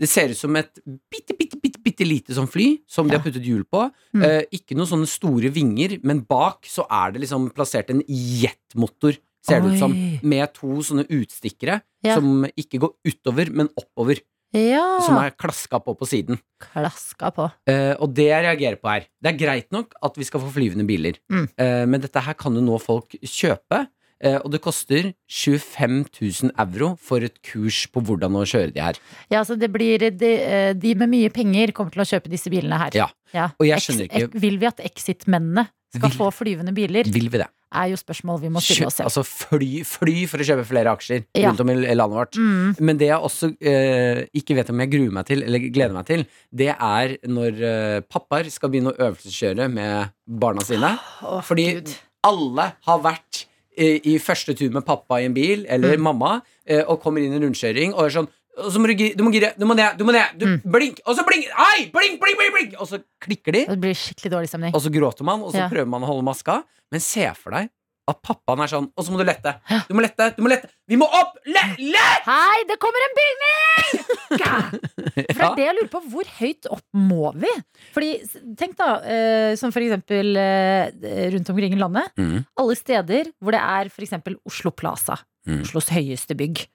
S3: det ser ut som et bitte, bitte, bitte, bitte lite sånn fly som de
S2: Ja.
S3: har puttet hjul på.
S2: Mm.
S3: Eh, ikke noen sånne store vinger, men bak så er det liksom plassert en jetmotor, ser det ut som.
S2: Oi.
S3: Med to sånne utstikkere
S2: Ja.
S3: som ikke går utover, men oppover.
S2: Ja.
S3: Som er klaska på på siden.
S2: Klaska på.
S3: Eh, og det jeg reagerer på her Det er greit nok at vi skal få flyvende biler,
S2: Mm.
S3: Eh, men dette her kan jo nå folk kjøpe. eh, og det koster 25 000 euro for et kurs på hvordan å kjøre de her.
S2: Ja, altså det blir de, eh, de med mye penger kommer til å kjøpe disse bilene her.
S3: Ja. Og jeg skjønner
S2: Ex-
S3: ikke-
S2: ek- Vil vi at Exit-mennene skal
S3: Vil-
S2: få flyvende biler?
S3: Vil vi det?
S2: Er jo spørsmål vi må stille oss
S3: Kjøp-
S2: selv.
S3: altså fly, fly for å kjøpe flere aksjer
S2: Ja.
S3: rundt om i landet vårt.
S2: Mm.
S3: Men det jeg også eh, ikke vet om jeg gruer meg til, eller gleder meg til, det er når eh, pappaer skal begynne å øvelseskjøre med barna
S2: Å,
S3: sine. altså, Fordi
S2: Gud.
S3: alle har vært eh, i første tur med pappa i en bil,
S2: Mm.
S3: eller mamma, eh, og kommer inn i en rundkjøring og er sånn og så må du, gi- du må gire, du må ned, du må ned,
S2: Mm.
S3: du, blink, og så blink, hei, blink, blink, blink, blink, og så klikker de,
S2: Det blir skikkelig dårlig stemning.
S3: og så gråter man, og så
S2: Ja.
S3: prøver man å holde maska, men se for deg at pappaen er sånn, og så må du lette, du må lette, du må lette, vi må opp, le, le!
S2: Hei, det kommer en bygning! For det
S3: Ja.
S2: er det jeg lurer på. Hvor høyt opp må vi? Fordi, s- tenk da, eh, som for eksempel eh, rundt omkring i landet.
S3: Mhm.
S2: Alle steder hvor det er for eksempel Oslo Plaza.
S3: Mhm.
S2: Oslos høyeste bygg.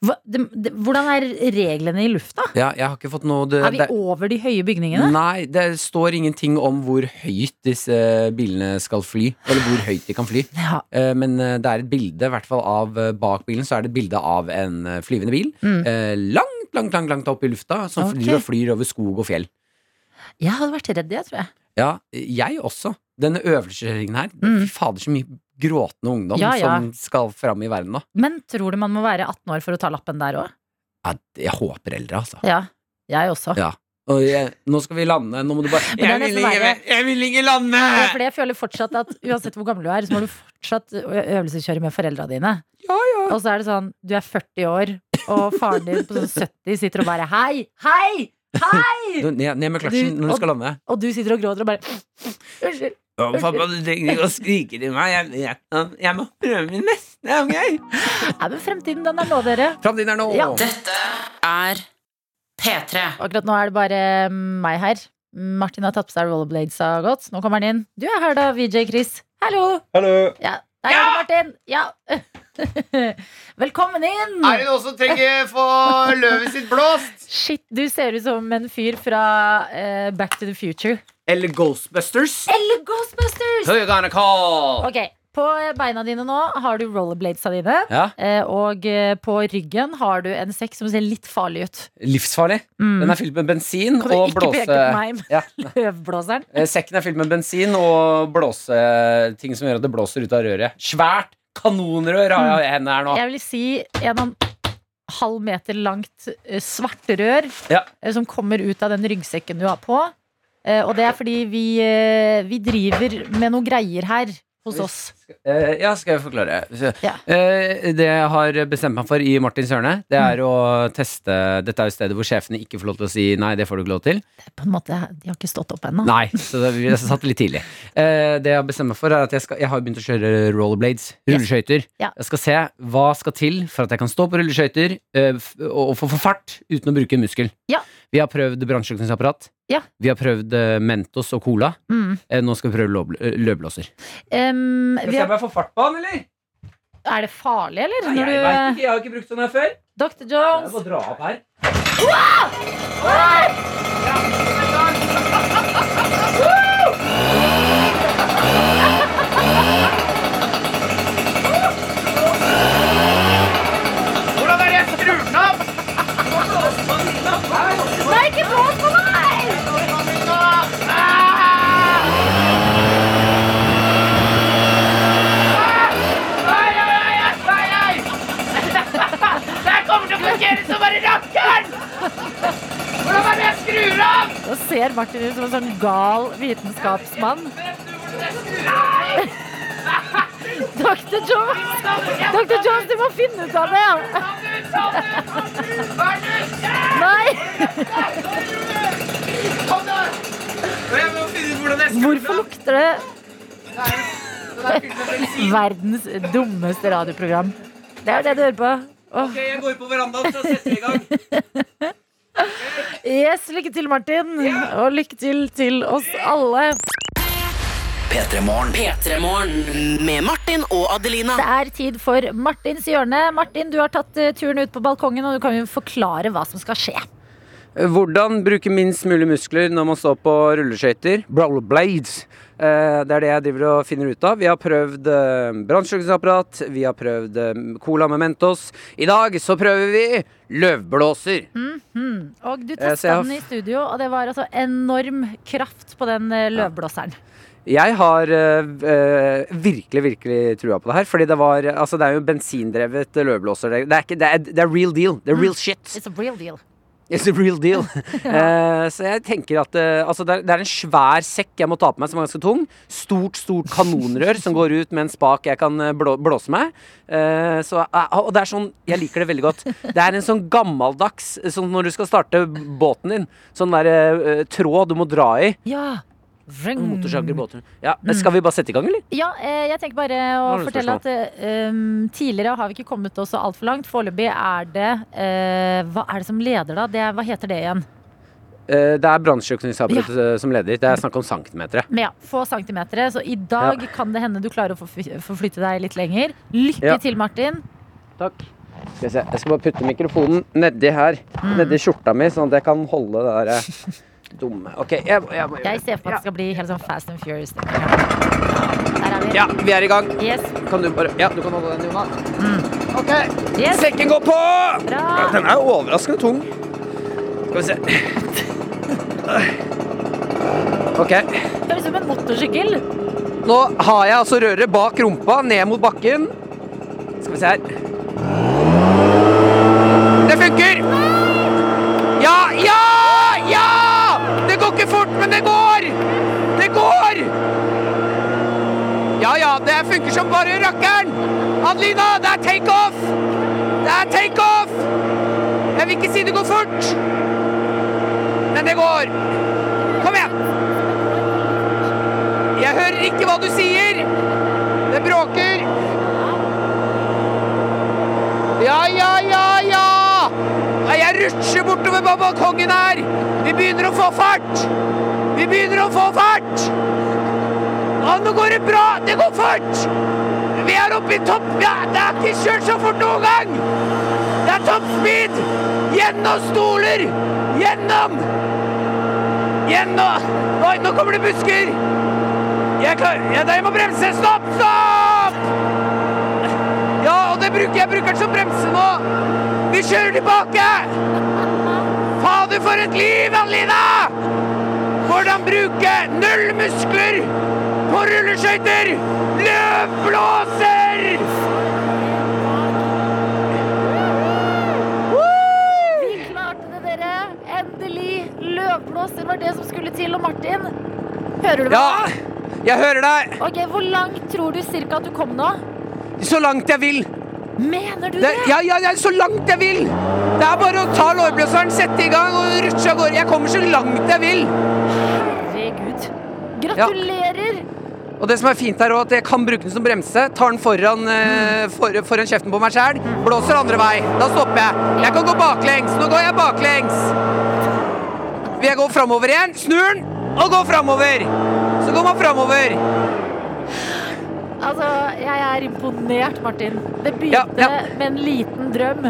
S2: Hva, det, det, hvordan er reglene i lufta?
S3: Ja, jeg har ikke fått noe, det,
S2: Er vi
S3: det- Mm.
S2: over de høye bygningene?
S3: Nei, det står ingenting om hvor høyt disse eh, bilene skal fly, eller hvor høyt de kan fly.
S2: Ja.
S3: Eh, Men eh, det er et bilde, i hvert fall av eh, bak bilen, så er det et bilde av en eh, flyvende bil.
S2: Mm.
S3: eh, Langt, langt, langt langt opp i lufta, som
S2: Ok.
S3: flyr og flyr over skog og fjell.
S2: Jeg hadde vært redd, jeg, tror jeg.
S3: Ja, eh, jeg også. Denne øvelseskjøringen her.
S2: Mm.
S3: Fy fader, så mye gråtende ungdom
S2: Ja, ja.
S3: som skal fram i verden nå.
S2: Men tror du man må være 18 år for å ta lappen der òg?
S3: Ja, det- jeg håper eldre, altså.
S2: Ja. Jeg også.
S3: Ja. Og jeg, nå skal vi lande. Nå må du bare
S2: Men det er
S3: jeg vil,
S2: nesten
S3: ikke,
S2: verre.
S3: jeg vil ikke lande!
S2: Ja, Eh, fordi jeg føler fortsatt at uansett hvor gammel du er, så må du fortsatt ø- øvelseskjøre med foreldra dine. Og så er det sånn, du er 40 år, og faren din på sånn 70 sitter og bare hei, hei, hei!
S3: Du, Ned, ned med kløtsjen
S2: Du-
S3: når
S2: og-
S3: du skal lande.
S2: Og du sitter og gråter og bare unnskyld.
S3: Å, pappa, du trenger ikke å skrike til meg. Jeg, jeg, jeg må prøve min beste. ok?
S2: Nei, men fremtiden den er nå, dere.
S3: Framtiden er nå.
S2: Ja.
S4: Dette er P3.
S2: Akkurat nå er det bare mm, meg her. Martin har tatt på seg rollerblades og gått. Nå kommer han inn. Du er her da, VJ Chris. Hallo!
S5: Hallo.
S2: Ja, der er du, Martin. Ja. Velkommen inn.
S6: Er det noen som trenger få løvet sitt blåst?
S2: Shit, du ser ut som en fyr fra eh, Back to the Future.
S3: Eller Ghostbusters.
S2: Eller Ghostbusters!
S3: Who you gonna call?
S2: Ok, På beina dine nå har du rollerbladesa dine.
S3: Ja,
S2: eh, Og eh, på ryggen har du en sekk som ser litt farlig ut.
S3: livsfarlig.
S2: Mm.
S3: Den er fylt med bensin
S2: Kan du
S3: og
S2: ikke peke på
S3: blåse...
S2: meg med
S3: Ja.
S2: løvblåseren?
S3: Eh, Sekken er fylt med bensin og blåse... ting som gjør at det blåser ut av røret. Svært kanonrør har jeg i hendene her nå.
S2: Jeg vil si en og en halv meter langt eh, svart rør
S3: Ja.
S2: eh, som kommer ut av den ryggsekken du har på. Eh, Og det er fordi vi, eh, vi driver med noe greier her hos oss.
S3: Eh, ja, skal jeg forklare. Så,
S2: Ja.
S3: eh, det jeg har bestemt meg for i Martin Sørne, det
S2: Mm.
S3: er å teste Dette er jo stedet hvor sjefene ikke får lov til å si nei, det får du ikke lov til.
S2: På en måte, De har ikke stått opp ennå.
S3: Nei, så det, vi satt litt tidlig. Eh, det jeg har bestemt meg for, er at jeg, skal, jeg har begynt å kjøre rollerblades. Rulleskøyter.
S2: Ja.
S3: Jeg skal se hva skal til for at jeg kan stå på rulleskøyter eh, f- og, og få få fart uten å bruke en muskel.
S2: Ja.
S3: Vi har prøvd brannslukningsapparat.
S2: Ja.
S3: Vi har prøvd eh, Mentos og Cola.
S2: Mm.
S3: Eh, nå skal vi prøve løvbl- eh, løvblåser.
S2: Em, vi har,
S3: jeg får fart på han, eller?
S2: er det farlig, eller?
S3: Nei,
S2: når
S3: jeg
S2: du,
S3: vet ikke. Jeg har ikke brukt sånn her før.
S2: Dr. Jones,
S3: Jeg må dra opp her.
S2: ser Martin ut som en sånn gal vitenskapsmann. Dr. Jones, Dr. Jones, du må finne ut av det! Nei!
S5: Jeg må finne ut hvordan jeg
S2: Hvorfor lukter det verdens dummeste radioprogram? Det er jo det du hører på. Åh.
S5: Jeg går på verandaen, så setter vi i gang.
S2: Yes, lykke til, Martin. Og lykke til til oss alle.
S7: P3morgen med Martin og Adelina.
S2: Det er tid for Martins hjørne. Martin, du har tatt eh, turen ut på balkongen, og du kan jo forklare hva som skal skje.
S3: Hvordan bruke minst mulig muskler når man står på rulleskøyter? Rollerblades. Eh, Det er det jeg driver og finner ut av. Vi har prøvd eh, brannslukningsapparat, vi har prøvd eh, cola med Mentos. I dag så prøver vi løvblåser.
S2: Og du
S3: Eh, så jeg
S2: testa
S3: har
S2: den i studio, og det var altså enorm kraft på den eh, løvblåseren.
S3: Jeg har eh, eh, virkelig, virkelig trua på det her. Fordi det var Altså, det er jo bensindrevet løvblåser. Det er, ikke, det er, det er real deal. Det er real shit.
S2: It's a real deal.
S3: It's a real deal. Eh, så jeg tenker at eh, altså det, er, det er en svær sekk jeg må ta på meg, som er ganske tung. Stort, stort kanonrør som går ut med en spak jeg kan eh, blå, blåse med. Eh, så, eh, og det er sånn Jeg liker det veldig godt. Det er en sånn gammeldags sånn når du skal starte båten din. Sånn der eh, tråd du må dra i.
S2: Ja.
S3: Motorsager i båter. Ja, Skal vi bare sette i gang, eller?
S2: Ja, eh, jeg tenker bare å
S3: Hva er det
S2: fortelle at eh, um, tidligere har vi ikke kommet oss så altfor langt. Foreløpig er det eh, Hva er det som leder, da? Det, er- hva heter det igjen?
S3: Eh, det er brannslukningsapparatet eh, som leder. Det er snakk om centimetere.
S2: Men ja, få centimeter. Så i dag kan det hende du klarer å forfly- forflytte deg litt lenger. Lykke
S3: Ja.
S2: til, Martin.
S3: Takk. Skal jeg, se. jeg skal bare putte mikrofonen nedi her,
S2: Mm.
S3: nedi skjorta mi, sånn at jeg kan holde det der eh, dumme OK, jeg, må- jeg må
S2: Jeg
S3: gjøre
S2: ser for meg at det skal bli helt sånn Fast and Furious. Der er vi.
S3: Ja, vi er i gang.
S2: Yes.
S3: Kan du bare Ja, du kan holde den, Jonas. OK,
S2: Mm. yes.
S3: sekken går på!
S2: Bra.
S3: Den er overraskende tung. Skal vi se. OK.
S2: Høres ut som en motorsykkel.
S3: Nå har jeg altså røret bak rumpa, ned mot bakken. Skal vi se her. Det funker! Ja, ja, ja! Det går ikke fort, men det går! Det går! Ja, ja, det funker som bare rakkeren! Adelina, det er takeoff! Det er takeoff! Jeg vil ikke si det går fort, men det går. Kom igjen! Jeg hører ikke hva du sier! Det bråker! Ja, ja, ja, ja! Nei, Jeg rutsjer bortover på balkongen her! Vi begynner å få fart! Vi begynner å få fart! Å, nå går det bra! Det går fort! Vi er oppe i topp... Ja, det er ikke kjørt så fort noen gang! Det er toppspeed! Gjennom stoler! Gjennom! Gjennom! Oi, nå kommer det busker! Jeg, klar, jeg, jeg må bremse! Stopp! Stopp! Ja, og det bruker jeg bruker den som bremse nå. Vi kjører tilbake! Fader, for et liv, Alina! Hvordan bruke null muskler på rulleskøyter? Løvblåser!
S2: Vi klarte det, dere. Endelig. Løvblåser var det som skulle til. Og Martin, hører du meg?
S3: Ja, jeg hører deg.
S2: Ok, Hvor langt tror du cirka at du kom nå?
S3: Så langt jeg vil.
S2: Mener du
S3: Det,
S2: det?
S3: ja, ja, ja, så langt jeg vil! Det er bare å ta lårblåseren, sette i gang og rutsje av gårde. Jeg kommer så langt jeg vil.
S2: Herregud. Gratulerer.
S3: Og det som er fint her også, at jeg kan bruke den som bremse. Tar den foran, eh, for, foran kjeften på meg sjæl. Blåser andre vei. Da stopper jeg. Jeg kan gå baklengs. Nå går jeg baklengs. Vil jeg gå framover igjen? Snur den og gå framover. Så går man framover.
S2: Altså, jeg er imponert, Martin. Det
S3: Ja,
S2: begynte
S3: ja.
S2: med en liten drøm.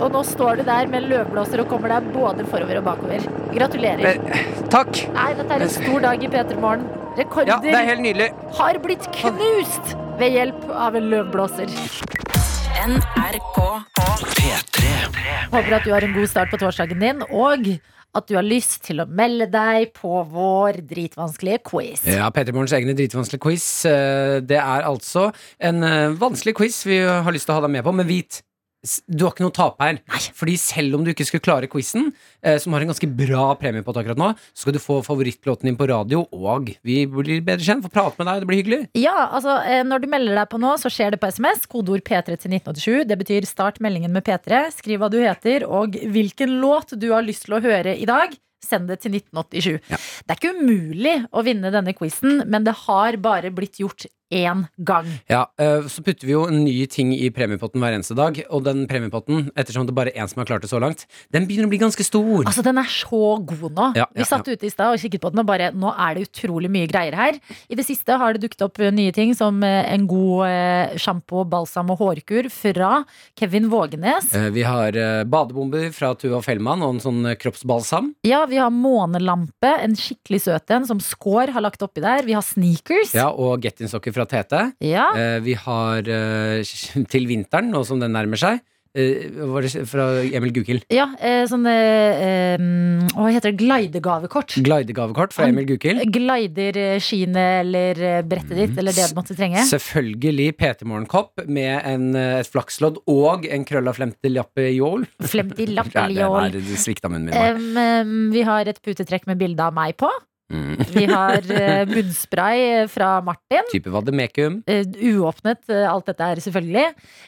S2: Og nå står du der med en løvblåser og kommer deg både forover og bakover. Gratulerer.
S3: Men, takk.
S2: Nei, dette er en stor dag i P3 Morgen. Rekorder
S3: Ja, det er helt nydelig.
S2: har blitt knust ved hjelp av en løvblåser.
S7: NRK.
S2: Håper at du har en god start på torsdagen din, og at du har lyst til å melde deg på vår dritvanskelige quiz.
S8: Ja, Petter Morgens egne dritvanskelige quiz. Eh, Det er altså en eh, vanskelig quiz vi har lyst til å ha deg med på, men vit
S3: s- du har ikke noe å tape her. Fordi selv om du ikke skulle klare quizen, eh, som har en ganske bra premie på det akkurat nå, så skal du få favorittlåten din på radio, og vi blir bedre kjent. Får prate med deg, det blir hyggelig.
S2: Ja, altså eh, Når du melder deg på nå, så skjer det på SMS. Kodeord P3 til 1987. Det betyr start meldingen med P3. Skriv hva du heter, og hvilken låt du har lyst til å høre i dag. Send det til 1987. Det er ikke umulig å vinne denne quizen, men det har bare blitt gjort én gang.
S3: Ja, eh, Så putter vi jo en ny ting i premiepotten hver eneste dag, og den premiepotten, ettersom det bare er én som har klart det så langt, den begynner å bli ganske stor.
S2: Altså, den er så god nå.
S3: Ja, ja,
S2: Vi satt ute i stad og kikket på den og bare Nå er det utrolig mye greier her. I det siste har det dukket opp eh, nye ting som eh, en god eh, sjampo, balsam og hårkur fra Kevin Vågenes.
S3: Eh, Vi har eh, badebomber fra Tuva Fellmann og en sånn eh, kroppsbalsam.
S2: Ja, vi har månelampe, en skikkelig søt en som Skår har lagt oppi der. Vi har sneakers.
S3: Ja, og Get In Sokker fra Tete.
S2: Ja.
S3: Eh, Vi har eh, til vinteren, nå som den nærmer seg, eh, hva var det fra Emil Gukild.
S2: Ja, eh, sånne eh, mm, Hva heter det? Glidegavekort.
S3: Mm. Glidegavekort fra Emil Gukild.
S2: Glider eh, skiene eller eh, brettet ditt, eller
S3: Mm.
S2: det du måtte trenge.
S3: Selvfølgelig PT-morgenkopp med en, eh, et flakslodd og en krølla flemtelappe i ål.
S2: Flemti
S3: Ja, det
S2: lappeliol.
S3: der, det svikta munnen min. bare.
S2: Em, em, vi har et putetrekk med bilde av meg på.
S3: Mm.
S2: Vi har eh, munnspray eh, fra Martin.
S3: Type vademekum.
S2: Eh, uåpnet, eh, alt dette her selvfølgelig.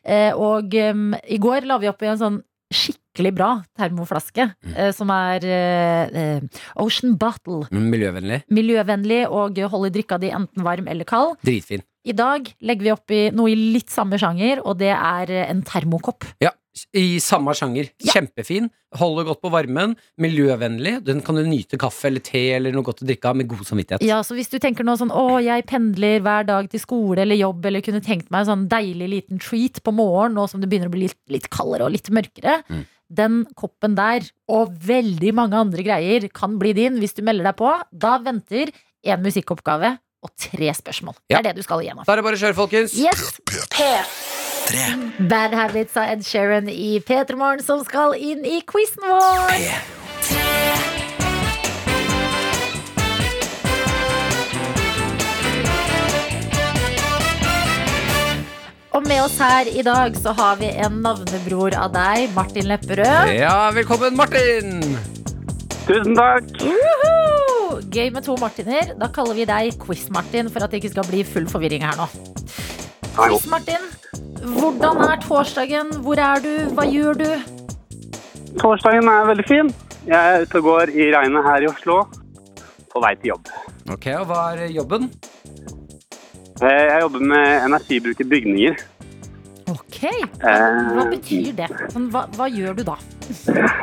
S2: Eh, og em, i går la vi opp i en sånn skikkelig bra termoflaske, eh, som er eh, eh, Ocean Bottle.
S3: Mm, Miljøvennlig.
S2: Miljøvennlig og holder drikka di enten varm eller kald.
S3: Dritfin.
S2: I dag legger vi opp i noe i litt samme sjanger, og det er eh, en termokopp.
S3: Ja, I samme sjanger.
S2: Ja.
S3: Kjempefin. Holder godt på varmen. Miljøvennlig. Den kan du nyte kaffe eller te eller noe godt å drikke av med god samvittighet.
S2: Ja, så hvis du tenker nå sånn Å, jeg pendler hver dag til skole eller jobb Eller kunne tenkt meg en sånn deilig liten treat på morgen Nå som det begynner å bli litt, litt kaldere og litt mørkere
S3: Mm.
S2: Den koppen der, og veldig mange andre greier Kan bli din hvis du melder deg på Da venter en musikkoppgave og tre spørsmål Det
S3: Ja.
S2: er det du skal igjennom
S3: Da er det bare å kjøre, folkens.
S2: Yes! Bad Habits av Ed Sheeran i Petermorgen som skal inn i quizen vår. Og med oss her i dag så har vi en navnebror av deg, Martin Lepperød.
S3: Ja, velkommen, Martin!
S9: Tusen takk.
S2: Woohoo! Gøy med to Martiner. Da kaller vi deg Quiz-Martin for at det ikke skal bli full forvirring her nå. Quiz-Martin, hvordan er torsdagen? Hvor er du? Hva gjør du?
S9: Torsdagen er veldig fin. Jeg er ute og går i regnet her i Oslo på vei til jobb.
S3: Ok, og hva er jobben?
S9: Eh, Jeg jobber med energibruk i bygninger.
S2: Ok,
S9: Eh,
S2: hva betyr det? Sånn, hva, hva gjør du da?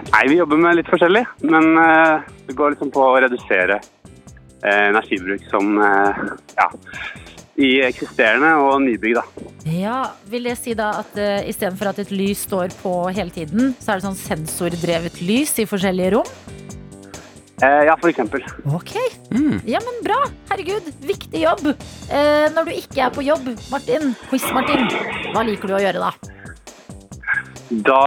S9: Nei, vi jobber med litt forskjellig, men eh, det går liksom på å redusere eh, energibruk som eh, ja, i eksisterende og nybygg, da.
S2: Ja, vil det si da at uh, istedenfor at et lys står på hele tiden, så er det sånn sensordrevet lys i forskjellige rom?
S9: Eh, Ja, for eksempel.
S2: Ok, ja men bra. Herregud, viktig jobb. Eh, når du ikke er på jobb, Martin, Quiz-Martin, hva liker du å gjøre da?
S9: Da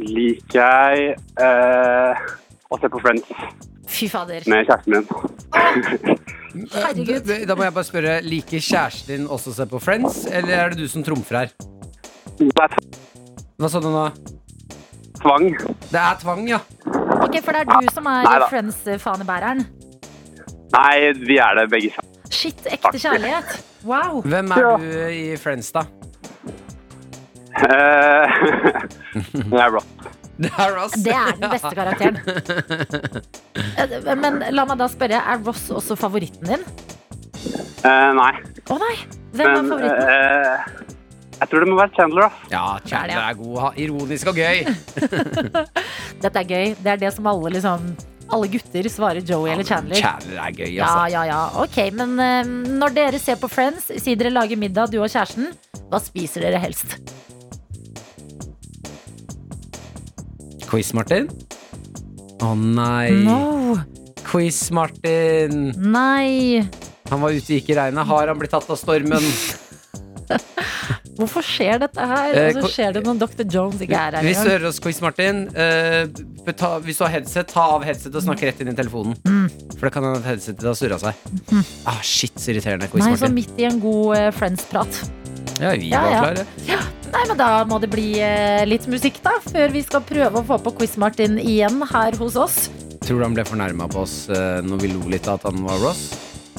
S9: liker jeg eh, å se på Friends
S2: Fy fader.
S9: med kjæresten min.
S2: Herregud.
S3: Eh, Da må jeg bare spørre, liker kjæresten din også å se på Friends, eller er det du som trumfer her?
S9: Det er
S3: Hva sa du nå?
S9: tvang.
S3: Det er tvang, ja.
S2: Ok, for det er du som er
S9: Neida.
S2: Friends-fanebæreren.
S9: Nei, vi er det begge sammen.
S2: Shit, ekte
S9: Faktisk.
S2: kjærlighet. Wow.
S3: Hvem er du i Friends, da?
S9: Eh, jeg er rått.
S3: Det er Ross.
S2: Det er den beste karakteren. Eh, Men la meg da spørre, er Ross også favoritten din?
S9: Eh, nei.
S2: Å nei! Hvem er
S9: Men,
S2: favoritten?
S9: eh, jeg tror det må være Chandler, da.
S3: Ja, Chandler er god. ha- Ironisk og gøy.
S2: Dette er gøy. Det er det som alle liksom Alle gutter svarer Joey eller Chandler.
S3: Chandler er gøy,
S2: Ja,
S3: altså.
S2: ja, ja. Ok, men eh, når dere ser på Friends, sier dere lager middag, du og kjæresten. Hva spiser dere helst?
S3: Quiz, Martin. Å nei.
S2: No!
S3: Quiz, Martin.
S2: Nei!
S3: Han var ute og gikk i regnet. Har han blitt tatt av stormen?
S2: Hvorfor skjer dette her?
S3: Eh,
S2: Og så
S3: ko-
S2: skjer det når Dr. Jones ikke er her.
S3: Hvis du
S2: engang.
S3: hører oss, Quiz Martin, eh, beta, hvis du har headset, ta av headset og snakk rett inn i telefonen. For det kan hende at headsetet har surra seg. Ah, shit, så irriterende, Quiz
S2: Nei, så
S3: Martin.
S2: midt i en god eh, Friends-prat.
S3: Ja, vi
S2: Ja,
S3: var
S2: ja.
S3: klare.
S2: Ja. Nei, men da må det bli eh, litt musikk, da. Før vi skal prøve å få på Quiz-Martin igjen her hos oss.
S10: Tror du han ble fornærma på oss eh, når vi lo litt av at han var Ross?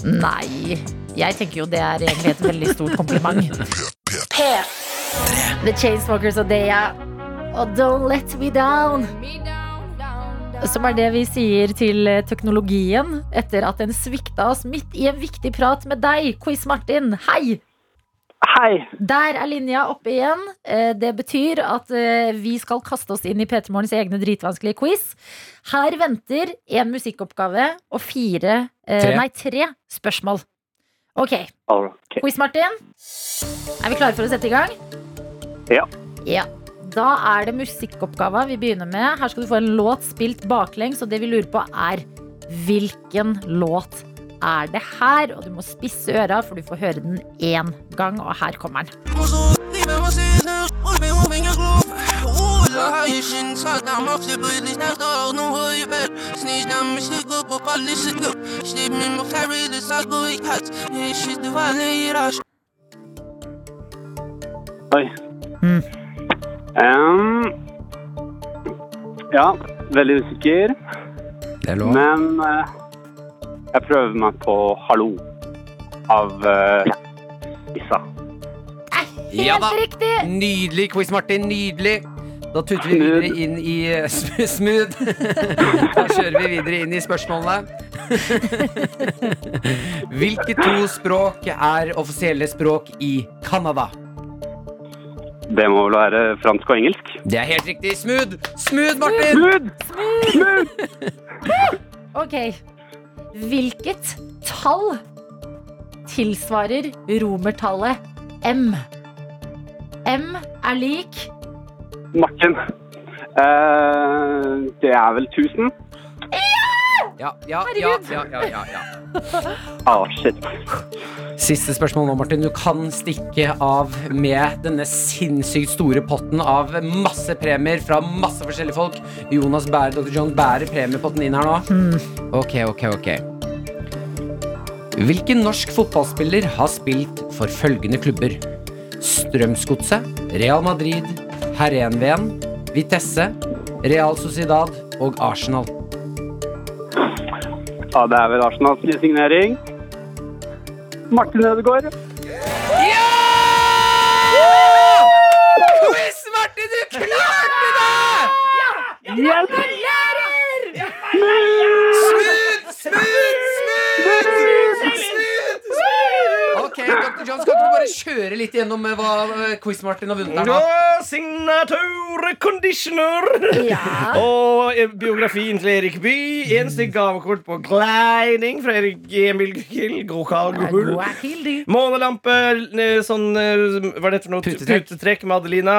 S2: Nei. Jeg tenker jo det er egentlig et veldig stort kompliment. The Chainsmokers og Deya og Don't Let Me Down. Som er det vi sier til teknologien etter at den svikta oss midt i en viktig prat med deg, Quiz-Martin. Hei!
S9: Hei!
S2: Der er linja oppe igjen. Eh, Det betyr at eh, vi skal kaste oss inn i P3 Morgens egne dritvanskelige quiz. Her venter en musikkoppgave og fire eh,
S3: Tre.
S2: Nei, tre spørsmål. Ok.
S9: Ok.
S2: Quiz-Martin, er vi klare for å sette i gang?
S9: Ja.
S2: Ja. Da er det musikkoppgava vi begynner med. Her skal du få en låt spilt baklengs, og det vi lurer på er hvilken låt er det her? Og du må spisse øra, for du får høre den én gang, og her kommer den.
S9: Oi.
S2: Mm.
S9: Em, ja, veldig usikker.
S10: Det er lov.
S9: Men eh, jeg prøver meg på 'Hallo' av eh, Issa.
S3: Ja da.
S2: Helt riktig!
S3: Nydelig quiz, Martin. Nydelig. Da tuter vi
S9: Smooth.
S3: videre inn i eh, sm- Smooth. Da kjører vi videre inn i spørsmålene. Hvilke to språk er offisielle språk i Canada?
S9: Det må vel være fransk og engelsk.
S3: Det er helt riktig. Smooth! Smooth, Martin!
S9: Smooth!
S2: Ok. Hvilket tall tilsvarer romertallet M? M er lik
S9: Martin. Eh, det er vel 1000?
S3: Ja, ja, ja, ja, ja, ja, ja.
S9: Ah, shit.
S3: Siste spørsmål nå, Martin. Du kan stikke av med denne sinnssykt store potten av masse premier fra masse forskjellige folk. Jonas bærer, Dr. John bærer premiepotten inn her nå. Ok, ok, ok. Hvilken norsk fotballspiller har spilt for følgende klubber? Strømsgodset, Real Madrid, Herenveen, Vitesse, Real Sociedad og Arsenal.
S9: Ja, det er vel Arsenals nye signering. Martin Ødegaard.
S3: Quiz, Martin, du klarte det!
S9: Yes!
S3: Smooth, smooth, smooth, smooth, smooth. Ok, Dr. John, skal ikke du bare kjøre litt gjennom eh, hva eh, Quiz-Martin har vunnet her nå?
S5: Signature conditioner!
S2: Ja.
S5: Og eh, biografien til Erik By.
S2: Mm.
S5: En stykk gavekort på gliding fra Erik Emil Gukil. Gokal Gukul.
S2: Guacildi.
S5: Månelampe, eh, sånn eh, Hva er det for noe?
S3: Putetrekk.
S5: Putetrekk med Adelina.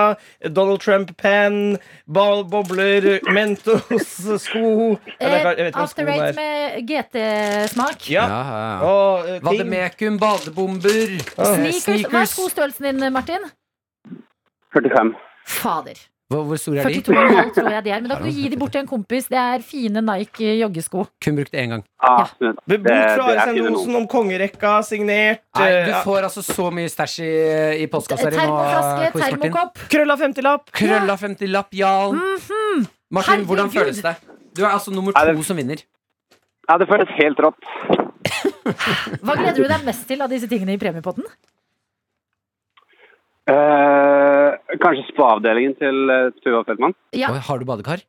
S5: Donald Trump-penn. Ball, bobler. Mentos. Sko. Ja, det er
S2: Eh,
S5: klart, jeg vet ikke hva
S2: After
S5: skoen
S2: eight
S5: er.
S2: med GT-smak.
S5: Ja. Og eh, ting.
S3: Vademekum, badebomber, eh,
S2: Sneakers. Hva er
S3: sneakers.
S2: skostørrelsen din, Martin?
S9: 45.
S2: Fader.
S3: Hvor, hvor store er de?
S2: 42,5 tror jeg de er. Men da kan du gi de bort til en kompis. Det er fine Nike joggesko.
S3: Kun brukt én gang.
S9: Ah, smooth.
S5: Bok
S9: Det-
S5: fra
S9: det er
S5: Arsen
S9: fine nå.
S5: Osen om kongerekka, signert.
S3: Nei, du
S5: eh,
S3: får altså så mye stæsj i, i postkassa di nå,
S2: Termoflaske,
S3: Quiz-Martin.
S2: termokopp.
S5: Krølla 50-lapp.
S3: Krølla 50-lapp, Jarl. Martin, hvordan
S2: Mhm. Herregud.
S3: føles det? Du er altså nummer
S9: Nei, det-
S3: to som vinner.
S9: Ja, det føles helt rått.
S2: Hva gleder du deg mest til av disse tingene i premiepotten?
S9: Eh, kanskje spa-avdelingen til eh, Tuva Feldman?
S2: Ja.
S3: Oi, Har du badekar?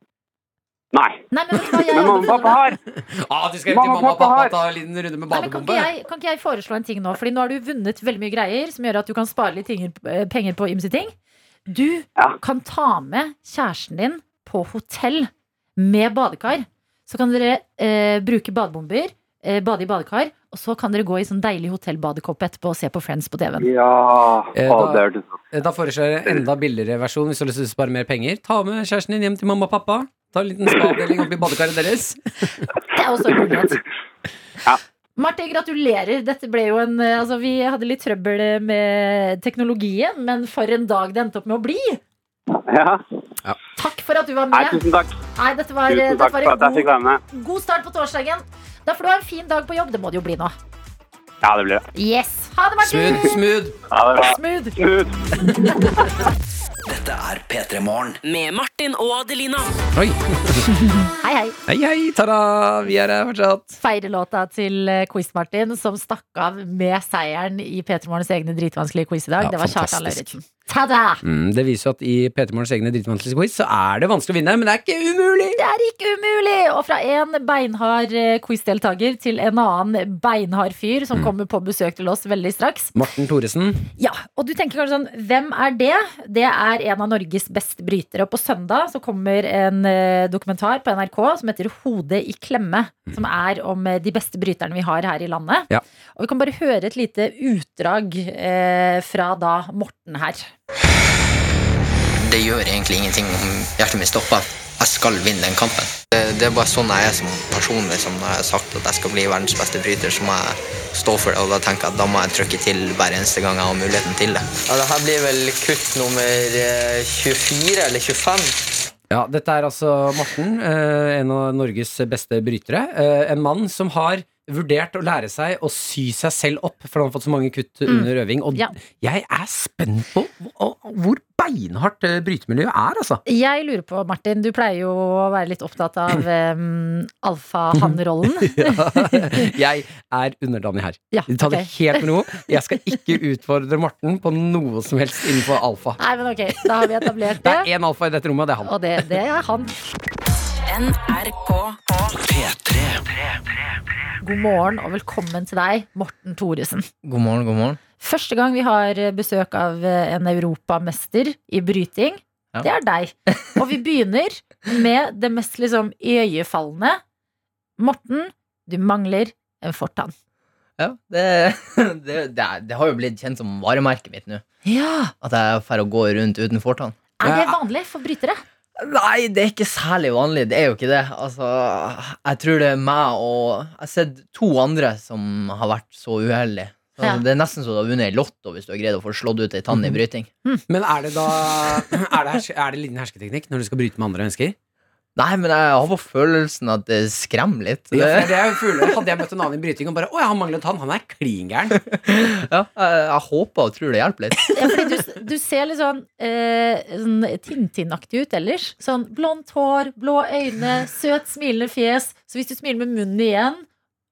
S9: Nei.
S2: Nei, men vet du hva jeg
S9: Men mamma og pappa har!
S3: Ah, du skal hjem til mamma og pappa og ta en liten runde
S2: Nei,
S3: med
S2: men kan, ikke
S3: badebombe?
S2: jeg, kan ikke jeg foreslå en ting nå? Fordi nå har du vunnet veldig mye greier som gjør at du kan spare litt tinger, eh, penger på ymse ting. Du
S9: Ja.
S2: kan ta med kjæresten din på hotell med badekar. Så kan dere eh, bruke badebomber, eh, bade i badekar, og så kan dere gå i sånn deilig hotellbadekopp etterpå og se på Friends på TV-en.
S9: Ja
S3: Eh,
S9: Å,
S3: da-
S9: det hørtes godt
S3: Eh, Da foreslår jeg en enda billigere versjon hvis du har lyst til å spare mer penger. Ta med kjæresten din hjem til mamma og pappa. Ta en liten spadeling oppi badekaret deres.
S2: Det er også en mulighet.
S9: Ja.
S2: Martin, gratulerer. Dette ble jo en eh, Altså, vi hadde litt trøbbel eh, med teknologien, men for en dag det endte opp med å bli.
S9: Ja.
S2: Takk for at du var
S9: Nei,
S2: med.
S9: tusen takk.
S2: Nei, dette var,
S9: Tusen
S2: dette
S9: takk
S2: var
S9: for
S2: en
S9: at jeg fikk
S2: god,
S9: være med.
S2: god start på torsdagen. Da får du ha en fin dag på jobb. Det må det jo bli nå.
S9: Ja, det blir det.
S2: Yes. Ha det, Martin!
S3: Smooth, smooth.
S9: Ja, det er bra.
S2: Smooth.
S9: Smooth.
S11: Dette er P3 Morgen.
S7: Med Martin og Adelina.
S12: Oi.
S2: Hei, hei.
S12: Hei, hei, tada! Vi er her fortsatt.
S2: Feirelåta til eh, Quiz-Martin, som stakk av med seieren i P3 Morgens egne dritvanskelige quiz i dag.
S12: Ja,
S2: det var Kjartan
S12: fantastisk.
S2: Lauritzen. Ta-da!
S12: Mm, det viser jo at i P3 Morgens egne dritvanskelige quiz så er det vanskelig å vinne, men det er ikke umulig!
S2: Det er ikke umulig! Og fra en beinhard eh, quiz-deltaker til en annen beinhard fyr som kommer på besøk til oss veldig straks.
S12: Morten Thoresen.
S2: Ja, og du tenker kanskje sånn, hvem er det? Det er en av Norges beste brytere. Og på søndag så kommer en eh, dokumentar på NRK som heter Hodet i klemme. Som er om eh, de beste bryterne vi har her i landet.
S12: Ja.
S2: Og vi kan bare høre et lite utdrag eh, fra da Morten her.
S11: Det gjør egentlig ingenting om hjertet mitt stopper. Jeg skal vinne den kampen. Det, det er bare sånn jeg er som person. Liksom. Når jeg har sagt at jeg skal bli verdens beste bryter, så må jeg stå for det. Og da tenker jeg at da må jeg trykke til hver eneste gang jeg har muligheten til det. Ja, det her blir vel kutt nummer 24 eller 25.
S3: Ja, dette er altså Morten, eh, en av Norges beste brytere. Eh, En mann som har vurdert å lære seg å sy seg selv opp, for han har fått så mange kutt under øving. Og
S2: Mm. Ja.
S3: jeg er spent på hvor- hvor beinhardt eh, brytemiljøet er, altså.
S2: Jeg lurer på, Martin, du pleier jo å være litt opptatt av um, alfahann-rollen.
S3: Jeg er underdanig her.
S2: Ja,
S3: Ta det
S2: ok.
S3: helt med ro. Jeg skal ikke utfordre Morten på noe som helst innenfor alfa.
S2: Nei, men ok, da har vi etablert
S3: Det
S2: det.
S3: er én alfa i dette rommet, og det er han.
S2: Og det, det er han.
S7: NRK.
S2: God morgen og velkommen til deg, Morten Thoresen.
S11: God morgen, god morgen.
S2: Første gang vi har besøk av en europamester i bryting,
S11: Ja.
S2: det er deg. Og vi begynner med det mest liksom iøynefallende. Morten, du mangler en fortann.
S11: Ja, det, det, det, er- det har jo blitt kjent som varemerket mitt nå.
S2: Ja,
S11: At jeg får å gå rundt uten fortann.
S2: Er det vanlig for brytere?
S11: Nei, det er ikke særlig vanlig. Det er jo ikke det. Altså, jeg tror det er meg og Jeg har sett to andre som har vært så uheldige. Altså,
S2: Ja.
S11: Det er nesten så du har vunnet i lotto hvis du har greid å få slått ut ei tann
S5: Mhm.
S11: i bryting.
S3: Men er det da Er det, herske, er det liten hersketeknikk når du skal bryte med andre mennesker?
S11: Nei, men jeg har på følelsen at det skremmer litt.
S3: Ja, for
S11: Det,
S3: det er jo fugler. Hadde jeg møtt en annen i bryting og bare Å, ja, han manglet han. Han er klin gæren.
S11: ja, jeg, jeg håper og tror det hjelper litt.
S2: Ja, fordi du, du ser litt sånn, eh, sånn Tintin-aktig ut ellers. Sånn blondt hår, blå øyne, søt smilende fjes. Så hvis du smiler med munnen igjen,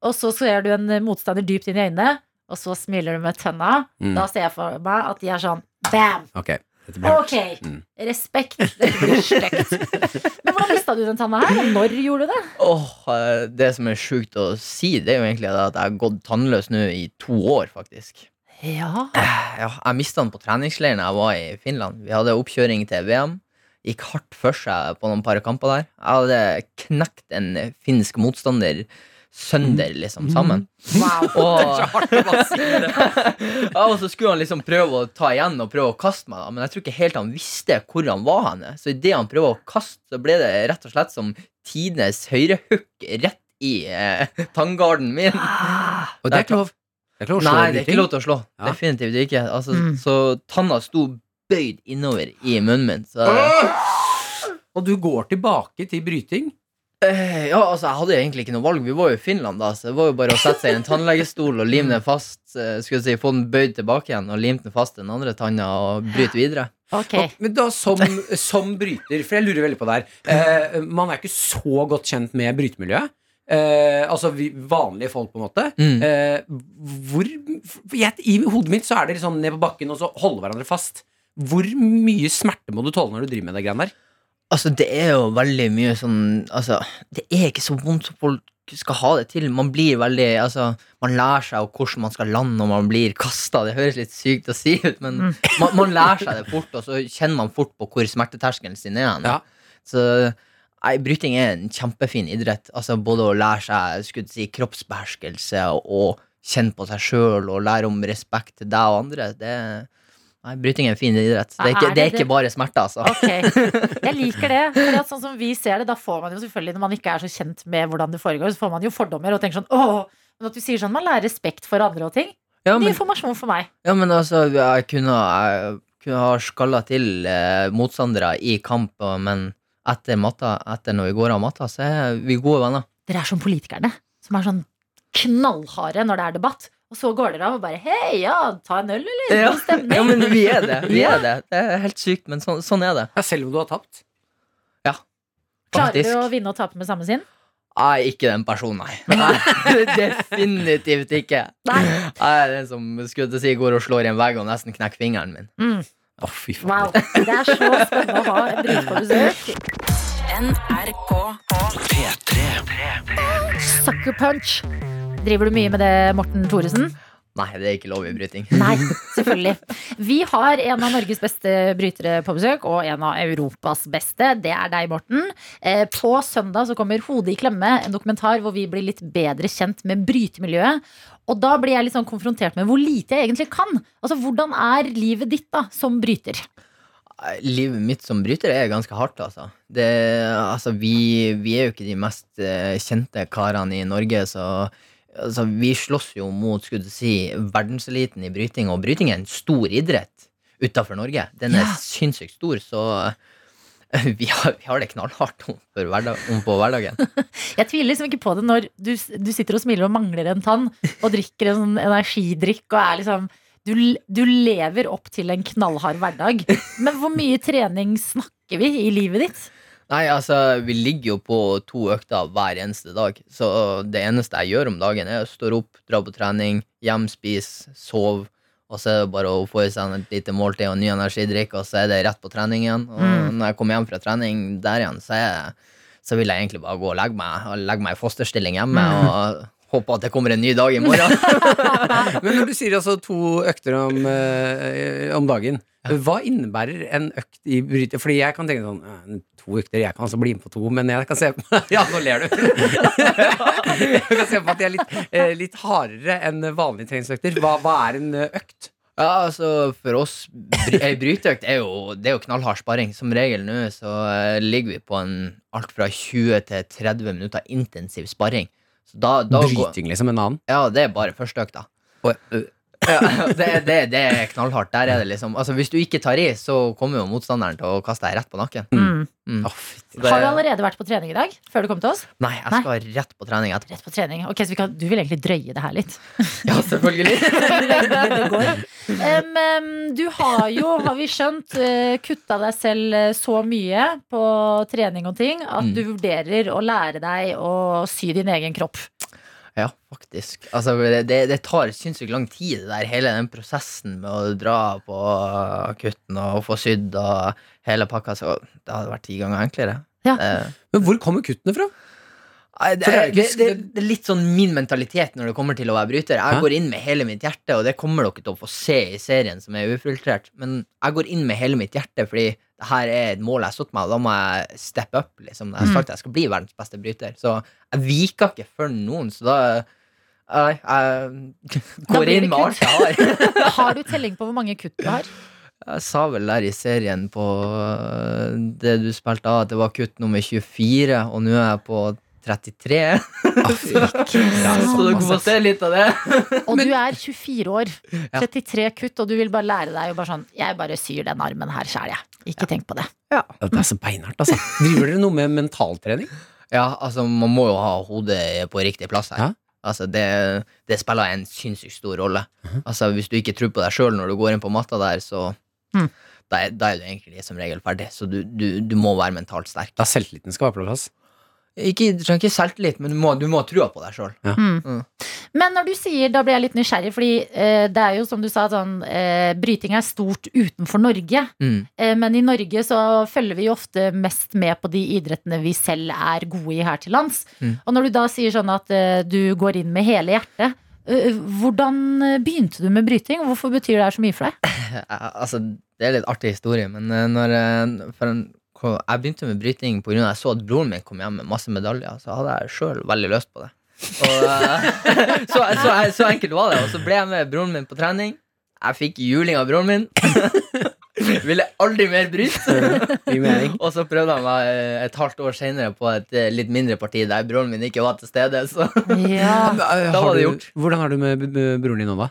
S2: og så ser du en motstander dypt inn i øynene, og så smiler du med tønna,
S3: Mm.
S2: da ser jeg for meg at de er sånn bam!
S3: Ok. Dette blir hardt.
S2: Ok, respekt. Dette blir stygt. Men hvordan mista du den tanna her? Og når gjorde du det?
S11: Åh, eh, Det som er sjukt å si, det er jo egentlig at jeg har gått tannløs nå i to år, faktisk.
S2: Ja,
S11: Ja, jeg mista den på treningsleiren jeg var i Finland. Vi hadde oppkjøring til VM. Gikk hardt for seg på noen par kamper der. Jeg hadde knekt en finsk motstander sønder, liksom, sammen.
S2: wow.
S11: Og, ja, og så skulle han liksom prøve å ta igjen og prøve å kaste meg, da. men jeg tror ikke helt han visste hvor han var henne. Så idet han prøvde å kaste, så ble det rett og slett som tidenes høyrehook rett i eh, tanngarden min.
S3: Og det er ikke lov. Det er ikke lov å slå i
S11: Nei, det er
S3: bryting.
S11: ikke lov til å slå.
S3: Ja.
S11: Definitivt ikke. Altså,
S2: Mm.
S11: Så tanna sto bøyd innover i munnen min. Så,
S3: Og du går tilbake til bryting.
S11: Eh, ja, altså, jeg hadde jo egentlig ikke noe valg. Vi var jo i Finland, da, så det var jo bare å sette seg i en tannlegestol og lime den fast. eh, Skulle jeg si, Få den bøyd tilbake igjen og limt den fast til den andre tanna og bryte videre.
S2: Ok.
S3: Og, men da som, som bryter, for jeg lurer veldig på det her eh, Man er ikke så godt kjent med brytemiljøet. Eh, altså vi, vanlige folk, på en måte.
S11: Mm.
S3: Eh, hvor for jeg, I hodet mitt så er det litt sånn ned på bakken og så holde hverandre fast. Hvor mye smerte må du tåle når du driver med det greiene der?
S11: Altså, det er jo veldig mye sånn Altså, det er ikke så vondt som folk skal ha det til. Man blir veldig Altså, man lærer seg jo hvordan man skal lande når man blir kasta. Det høres litt sykt å si ut,
S2: Mm.
S11: men man, man lærer seg det fort, og så kjenner man fort på hvor smerteterskelen sin er. hen.
S3: Ja.
S11: Så Nei, Bryting er en kjempefin idrett. Altså Både å lære seg skulle jeg si, kroppsbeherskelse og, og kjenne på seg sjøl og lære om respekt til deg og andre. Det, nei, Bryting er en fin idrett. Det er ikke,
S2: Er det
S11: det er
S2: det-
S11: ikke bare smerte, altså.
S2: Ok, Jeg liker det. Fordi at sånn som vi ser det, da får man jo selvfølgelig, når man ikke er så kjent med hvordan det foregår, så får man jo fordommer og tenker sånn åh. Men at du sier sånn, man lærer respekt for andre og ting.
S11: Ja,
S2: Ny
S11: men
S2: informasjon for meg.
S11: Ja, men altså, jeg kunne, jeg kunne ha skalla til eh, motstandere i kamp, og- men etter matta, etter når vi går av matta, så er vi gode venner.
S2: Dere er som politikerne, som er sånn knallharde når det er debatt. Og Og så går dere av og bare Hei, ja, ta en øl, eller?
S11: Ja.
S2: God stemning.
S11: ja, men vi er det. Vi er det. det er helt sykt, men sånn- sånn er det.
S13: Ja, selv om du har tapt.
S2: Klarer
S11: Faktisk.
S2: du å vinne og tape med samme sinn?
S11: Nei, ikke den personen, nei. nei. Definitivt ikke. Nei. Jeg er den som skulle til å si går og slår i en vegg og nesten knekker fingeren min.
S13: Å, fy faen.
S2: Wow. Det er så spennende å ha en brud på besøk.
S4: NRK
S2: Sucker punch. Driver du mye med det, Morten Thoresen?
S11: Nei, det er ikke lov i bryting.
S2: Nei, selvfølgelig. Vi har en av Norges beste brytere på besøk, og en av Europas beste. Det er deg, Morten. Eh, På søndag så kommer Hodet i klemme, en dokumentar hvor vi blir litt bedre kjent med brytemiljøet. Og da blir jeg litt sånn konfrontert med hvor lite jeg egentlig kan. Altså, Hvordan er livet ditt da, som bryter?
S11: Nei, Livet mitt som bryter er ganske hardt, altså. Det, altså vi, vi er jo ikke de mest eh, kjente karene i Norge, så altså, vi slåss jo mot skulle du si, verdenseliten i bryting, og bryting er en stor idrett utafor Norge. Den er
S2: Ja.
S11: sinnssykt stor, så eh, vi har, vi har det knallhardt om, for hverdag, om på hverdagen.
S2: Jeg tviler liksom ikke på det når du, du sitter og smiler og mangler en tann, og drikker en sånn energidrikk og er liksom du, du lever opp til en knallhard hverdag. Men hvor mye trening snakker vi i livet ditt?
S11: Nei, altså, vi ligger jo på to økter hver eneste dag, så det eneste jeg gjør om dagen, er å stå opp, dra på trening, hjem, spise, sove, og så er det bare å få i seg et lite måltid og ny energidrikk, og så er det rett på trening igjen. Og
S2: Mm.
S11: når jeg kommer hjem fra trening der igjen, så, er jeg, så vil jeg egentlig bare gå og legge meg, og legge meg i fosterstilling hjemme og håpe at det kommer en ny dag i morgen.
S13: Men når du sier altså to økter om, eh, om dagen, hva innebærer en økt i bryter? Fordi jeg kan tenke sånn eh, To økter, jeg kan altså bli med på to, men jeg kan se på Ja, nå ler du. jeg kan se på at de er litt, eh, litt hardere enn vanlige treningsøkter. Hva, hva er en eh, økt?
S11: Ja, altså for oss bry- Ei bryteøkt er jo, det er jo knallhard sparring. Som regel nå så eh, ligger vi på en alt fra 20 til 30 minutter intensiv sparring. Så da, da går,
S13: Bryting, liksom. En annen.
S11: ja, det er bare første økta.
S13: Og, eh,
S11: Ja, det, det, det er knallhardt. Der er det liksom Altså Hvis du ikke tar i, så kommer jo motstanderen til å kaste deg rett på nakken. Mm.
S13: å, fy-
S11: Så
S2: Har du
S11: Det,
S2: allerede vært på trening i dag? Før du kom til oss?
S11: nei, jeg skal rett på trening etterpå.
S2: Rett på trening. Ok, så vi kan, Du vil egentlig drøye det her litt.
S11: Ja, selvfølgelig.
S2: Det går. Em, em, du har jo, har vi skjønt, eh, kutta deg selv eh, så mye på trening og ting at
S11: Mm.
S2: du vurderer å lære deg å sy din egen kropp.
S11: Ja, faktisk. Altså, det, det, det tar sinnssykt lang tid, det der, hele den prosessen med å dra på kutten og få sydd og hele pakka. Så det hadde vært ti ganger enklere.
S2: Ja.
S11: Eh,
S13: Men hvor kommer kuttene fra?
S11: Nei,
S13: For
S11: det,
S13: det
S11: er,
S13: er jo
S11: det,
S13: ikke-
S11: det, det er litt sånn min mentalitet når det kommer til å være bryter. Jeg
S13: Hæ?
S11: går inn med hele mitt hjerte, og det kommer dere til å få se i serien som er ufiltrert. Men jeg går inn med hele mitt hjerte, fordi det her er et mål jeg har satt meg, og da må jeg steppe up. Liksom. Jeg
S13: Mm.
S11: har sagt at jeg skal bli verdens beste bryter, så jeg viker ikke for noen. Så da Nei, jeg
S2: Da
S11: går
S2: blir
S11: inn
S2: det
S11: med alt jeg har.
S2: Har du telling på hvor mange kutt du har?
S11: Jeg sa vel der i serien på øh, det du spilte av, at det var kutt nummer 24, og nå er jeg på 33. Så dere får se litt av det.
S2: Og du er 24 år. 33 kutt, og du vil bare lære deg å bare sånn Jeg bare syr den armen her sjæl, jeg. Ikke tenk på det.
S13: Ja, Det er så beinhardt, altså. Driver dere noe med mentaltrening?
S11: Ja, altså, man må jo ha hodet på riktig plass her.
S13: Ja.
S11: Altså, det, det spiller en sinnssykt stor rolle. Altså, Hvis du ikke tror på deg sjøl når du går inn på matta der, så
S2: Mhm.
S11: da, er, da er du egentlig som regel ferdig. Så du, du, du må være mentalt sterk.
S13: Da selvtilliten skal være på plass.
S11: Ikke, du trenger ikke selvtillit, men du må, du må ha trua på deg sjøl.
S2: Men når du sier, da blir jeg litt nysgjerrig, fordi eh, det er jo som du sa, sånn, eh, bryting er stort utenfor Norge.
S11: Mm.
S2: Eh, men i Norge så følger vi jo ofte mest med på de idrettene vi selv er gode i her til lands.
S11: Mm.
S2: Og når du da sier sånn at eh, du går inn med hele hjertet, eh, hvordan begynte du med bryting? og Hvorfor betyr det her så mye for deg?
S11: Jeg- Altså, det er litt artig historie, men eh, når eh, for en, ko- jeg begynte med bryting pga. at jeg så at broren min kom hjem med masse medaljer, så hadde jeg sjøl veldig lyst på det. Og, eh, så, så, så enkelt var det. Og så ble jeg med broren min på trening. Jeg fikk juling av broren min. Ville aldri mer bryte. Og så prøvde jeg meg eh, et halvt år seinere på et eh, litt mindre parti der broren min ikke var til stede. Så
S2: Ja.
S13: Da
S11: var det gjort.
S13: Hvordan har du med b- b- broren din nå, da?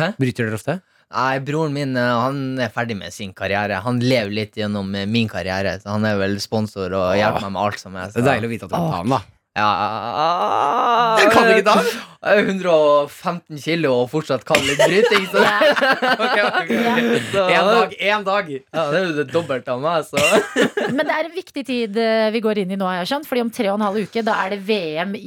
S11: Hæ?
S13: Bryter dere ofte?
S11: Nei, broren min eh, han er ferdig med sin karriere. Han lever litt gjennom eh, min karriere. Så han er vel sponsor og hjelper meg med alt som Ah. er.
S13: Det er deilig å vite at du kan ta den, da.
S11: Ja.
S13: Du kan ikke ta den!
S11: Jeg er 115 kilo og fortsatt kan litt bryting. Så
S13: En dag,
S11: én dag. Ja, det er jo det dobbelte av meg, så
S2: Men det er en viktig tid eh, vi går inn i nå, har jeg skjønt. Fordi om tre og en halv uke da er det VM i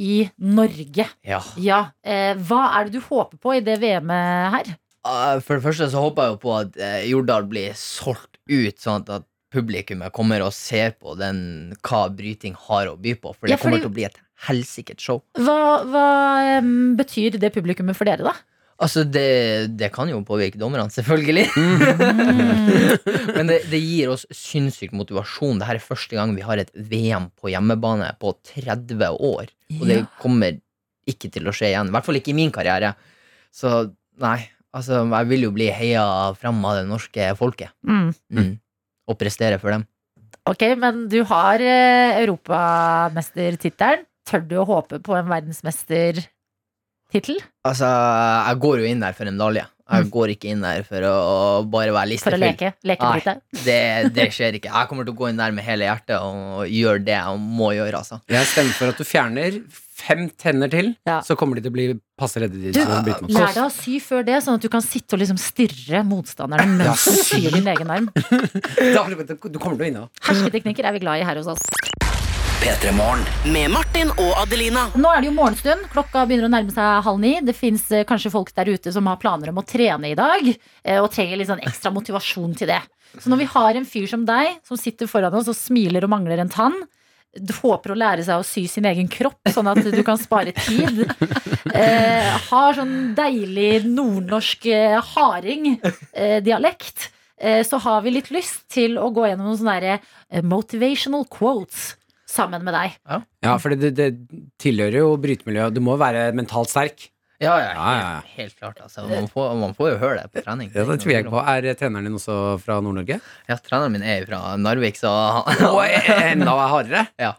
S2: Norge.
S11: Ja.
S2: eh, Hva er det du håper på i det VM-et her?
S11: Eh, For det første så håper jeg jo på at eh, Jordal blir solgt ut, sånn at, at publikummet kommer og ser på den, hva bryting har å by på. For det
S2: Ja, fordi-
S11: kommer til å bli et helsikes show.
S2: Hva, hva em, betyr det publikummet for dere, da?
S11: Altså, det, det kan jo påvirke dommerne, selvfølgelig.
S13: Mhm.
S11: Men det, det gir oss sinnssyk motivasjon. Dette er første gang vi har et VM på hjemmebane på 30 år. Og det
S2: Ja.
S11: kommer ikke til å skje igjen. I hvert fall ikke i min karriere. Så nei, altså, jeg vil jo bli heia fram av det norske folket.
S2: Mm.
S11: Mm. Og prestere for dem.
S2: Ok, men du har eh, europamestertittelen. Tør du å håpe på en verdensmestertittel?
S11: Altså, jeg går jo inn der for en medalje. Jeg går ikke inn der for å bare
S2: Mm.
S11: være
S2: For å
S11: listefull.
S2: leke? Lekedrite?
S11: Nei, det, det skjer ikke. Jeg kommer til å gå inn der med hele hjertet og gjøre det jeg må gjøre. Altså.
S13: Jeg stemmer for at du fjerner fem tenner til,
S2: Ja.
S13: så kommer de til å bli passe redde. De,
S2: Du,
S13: som har blitt med.
S2: Lær deg å sy før det, sånn at du kan sitte og liksom stirre motstanderen mens du syr din egen arm.
S13: Da- Du kommer til å vinne.
S2: Hersketeknikker er vi glad i her hos oss.
S7: Med Martin og Adelina.
S2: Nå er det jo morgenstund. Klokka begynner å nærme seg halv ni. Det fins kanskje folk der ute som har planer om å trene i dag, eh, og trenger litt sånn ekstra motivasjon til det. Så når vi har en fyr som deg, som sitter foran oss og smiler og mangler en tann, du håper å lære seg å sy sin egen kropp, sånn at du kan spare tid. Eh, har sånn deilig nordnorsk eh, harding-dialekt. Eh, så har vi litt lyst til å gå gjennom noen sånne der, eh, motivational quotes sammen med deg.
S13: Ja, for det, det tilhører jo brytemiljøet. Du må være mentalt sterk.
S11: Ja,
S13: Ja,
S11: ja,
S13: ja, ja.
S11: Helt, helt klart. Altså. Man, får, man får jo høre det på trening.
S13: Ja, det tviler jeg ikke på. Er treneren din også fra Nord-Norge?
S11: Ja, treneren min er jo fra Narvik, så
S13: Og eh, enda hardere!
S11: Ja.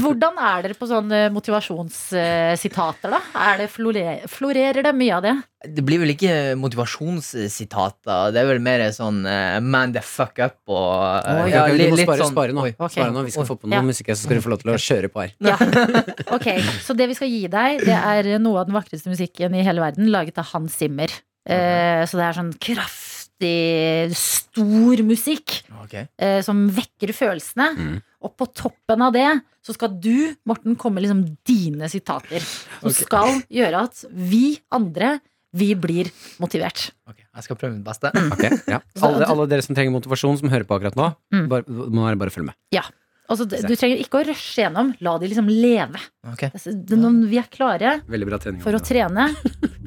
S2: Hvordan er dere på sånne motivasjonssitater, da? Er det flore, florerer det mye av det?
S11: Det blir vel ikke motivasjonssitater. Det er vel mer sånn eh, man the fuck up og eh,
S13: Oi,
S11: ja,
S13: ok,
S11: li-
S13: du må
S11: litt
S13: spare,
S11: sånn-
S13: spare nå.
S11: Oi.
S13: Spare nå. Vi skal
S11: Oi.
S13: få på
S2: Ja.
S13: noe musikk, her, så skal du få lov til å kjøre på her.
S2: Ja. Ok, Så det vi skal gi deg, det er noe av den vakreste musikken i hele verden, laget av Hans Zimmer. Eh, så det er sånn kraftig, stor musikk
S11: Ok.
S2: eh, som vekker følelsene. Og på toppen av det så skal du, Morten, komme med liksom dine sitater. Som skal gjøre at vi andre, vi blir motivert.
S11: Ok, Jeg skal prøve mitt beste.
S13: Ok, ja. alle, alle dere som trenger motivasjon, som hører på akkurat nå,
S2: Mm.
S13: bare, må dere bare følge med.
S2: Ja. Altså, d- du trenger ikke å rushe gjennom. La de liksom leve.
S11: Ok.
S2: Altså, det- når Vi er klare
S13: Veldig bra trening.
S2: for å trene,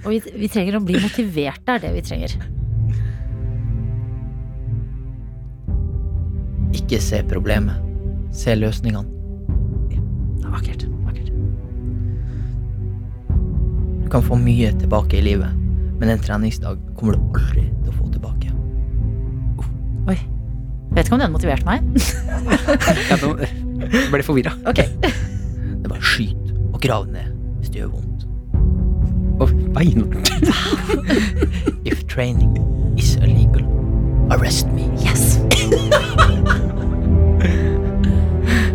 S2: og vi, vi trenger å bli motivert. Det er det vi trenger.
S11: Ikke se problemet. Se løsningene.
S2: Vakkert. vakkert.
S11: Du kan få mye tilbake i livet, men en treningsdag kommer du aldri til å få tilbake.
S2: Jeg vet ikke om den motiverte meg.
S13: Ja, nå ble jeg forvirra.
S2: Ok.
S11: Det er bare skyt og grav ned hvis det gjør vondt.
S13: Og beinhardt.
S11: If training is illegal, arrest me.
S2: Yes.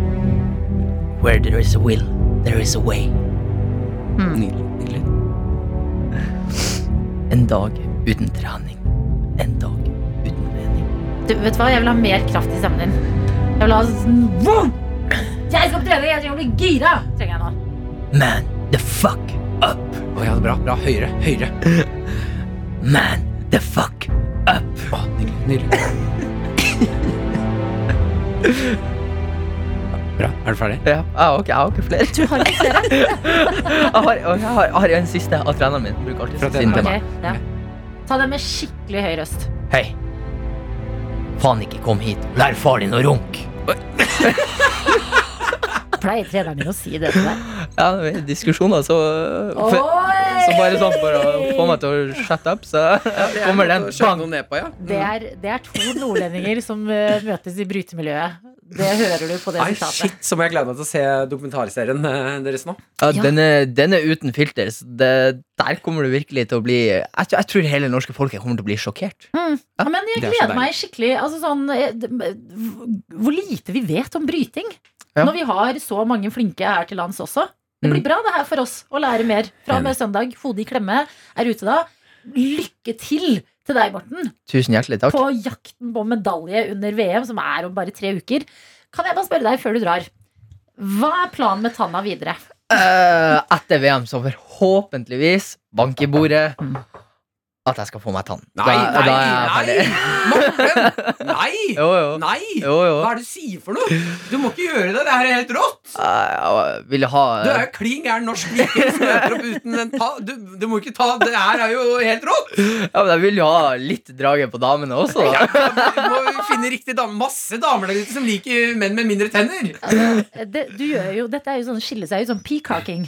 S11: Where there is a will, there is a way.
S13: Nydelig. nydelig.
S11: En dag uten trening. En dag uten mening.
S2: Du, vet du hva? Jeg vil ha mer kraft i stemmen din. Jeg vil ha sånn Vroom! Jeg skal på trening! Jeg trenger å bli gira! Trenger jeg nå.
S11: Man the fuck up!
S13: Å ja, bra. bra. Høyere. Høyere.
S11: Man the fuck up!
S13: Å, nydelig. Nydelig. Bra. Er du ferdig?
S11: Ja, ah, ok, jeg har ikke flere.
S2: Du har ikke flere?
S11: Jeg har, jeg har, jeg har en siste av treneren min. Bruker alltid
S13: Fra
S11: å si den til meg.
S2: Ok, ja. Ta det med skikkelig høy røst.
S11: Hei. Faen ikke kom hit. Lær far din å runke.
S2: Pleier treneren din å si det til deg?
S11: Ja, det var diskusjoner, så
S2: Oi!
S11: Så bare sånn for å få meg til å shut up, så kommer den. Bang!
S2: Det er, det er to nordlendinger som eh, møtes i brytemiljøet. Det hører du på det
S13: Ai,
S2: sitatet.
S13: shit, så må jeg glede meg til å se dokumentarserien eh, deres nå.
S11: Ja,
S2: Ja.
S11: den, er, den er uten filter. Så det, der kommer du virkelig til å bli jeg, tror- jeg tror hele det norske folket kommer til å bli sjokkert.
S2: Ja, men
S13: Det
S2: jeg
S13: er så
S2: gleder meg skikkelig. Altså sånn, eh, d- m- hvor lite vi vet om bryting.
S11: Ja.
S2: Når vi har så mange flinke her til lands også. Det
S13: Mm.
S2: blir bra det her for oss å lære mer. Fra og med søndag, hodet i klemme, er ute da. Lykke til til deg, Morten,
S11: Tusen hjertelig takk.
S2: på jakten på medalje under VM, som er om bare tre uker. Kan jeg bare spørre deg før du drar, hva er planen med tanna videre?
S11: Eh, etter VM, så forhåpentligvis bank i bordet at jeg skal få meg tann.
S14: Nei, nei, nei! Morten! Nei!
S11: Jo, jo.
S14: Nei!
S11: Jo, jo.
S14: Hva er det du sier for noe? Du må ikke gjøre det. Det her er helt rått.
S11: Eh, jeg vil ha
S14: Du er jo klin gæren norsk viking som møter opp uten en ta... Du, du må ikke ta Det her er jo helt rått!
S11: ja, men Jeg vil jo ha litt drage på damene også.
S14: Ja,
S11: Da.
S14: Du må finne riktig dame. Masse damer der ute som liker menn med mindre tenner.
S2: Eh, Det, du gjør jo, dette er jo sånn, skiller seg ut som peacocking.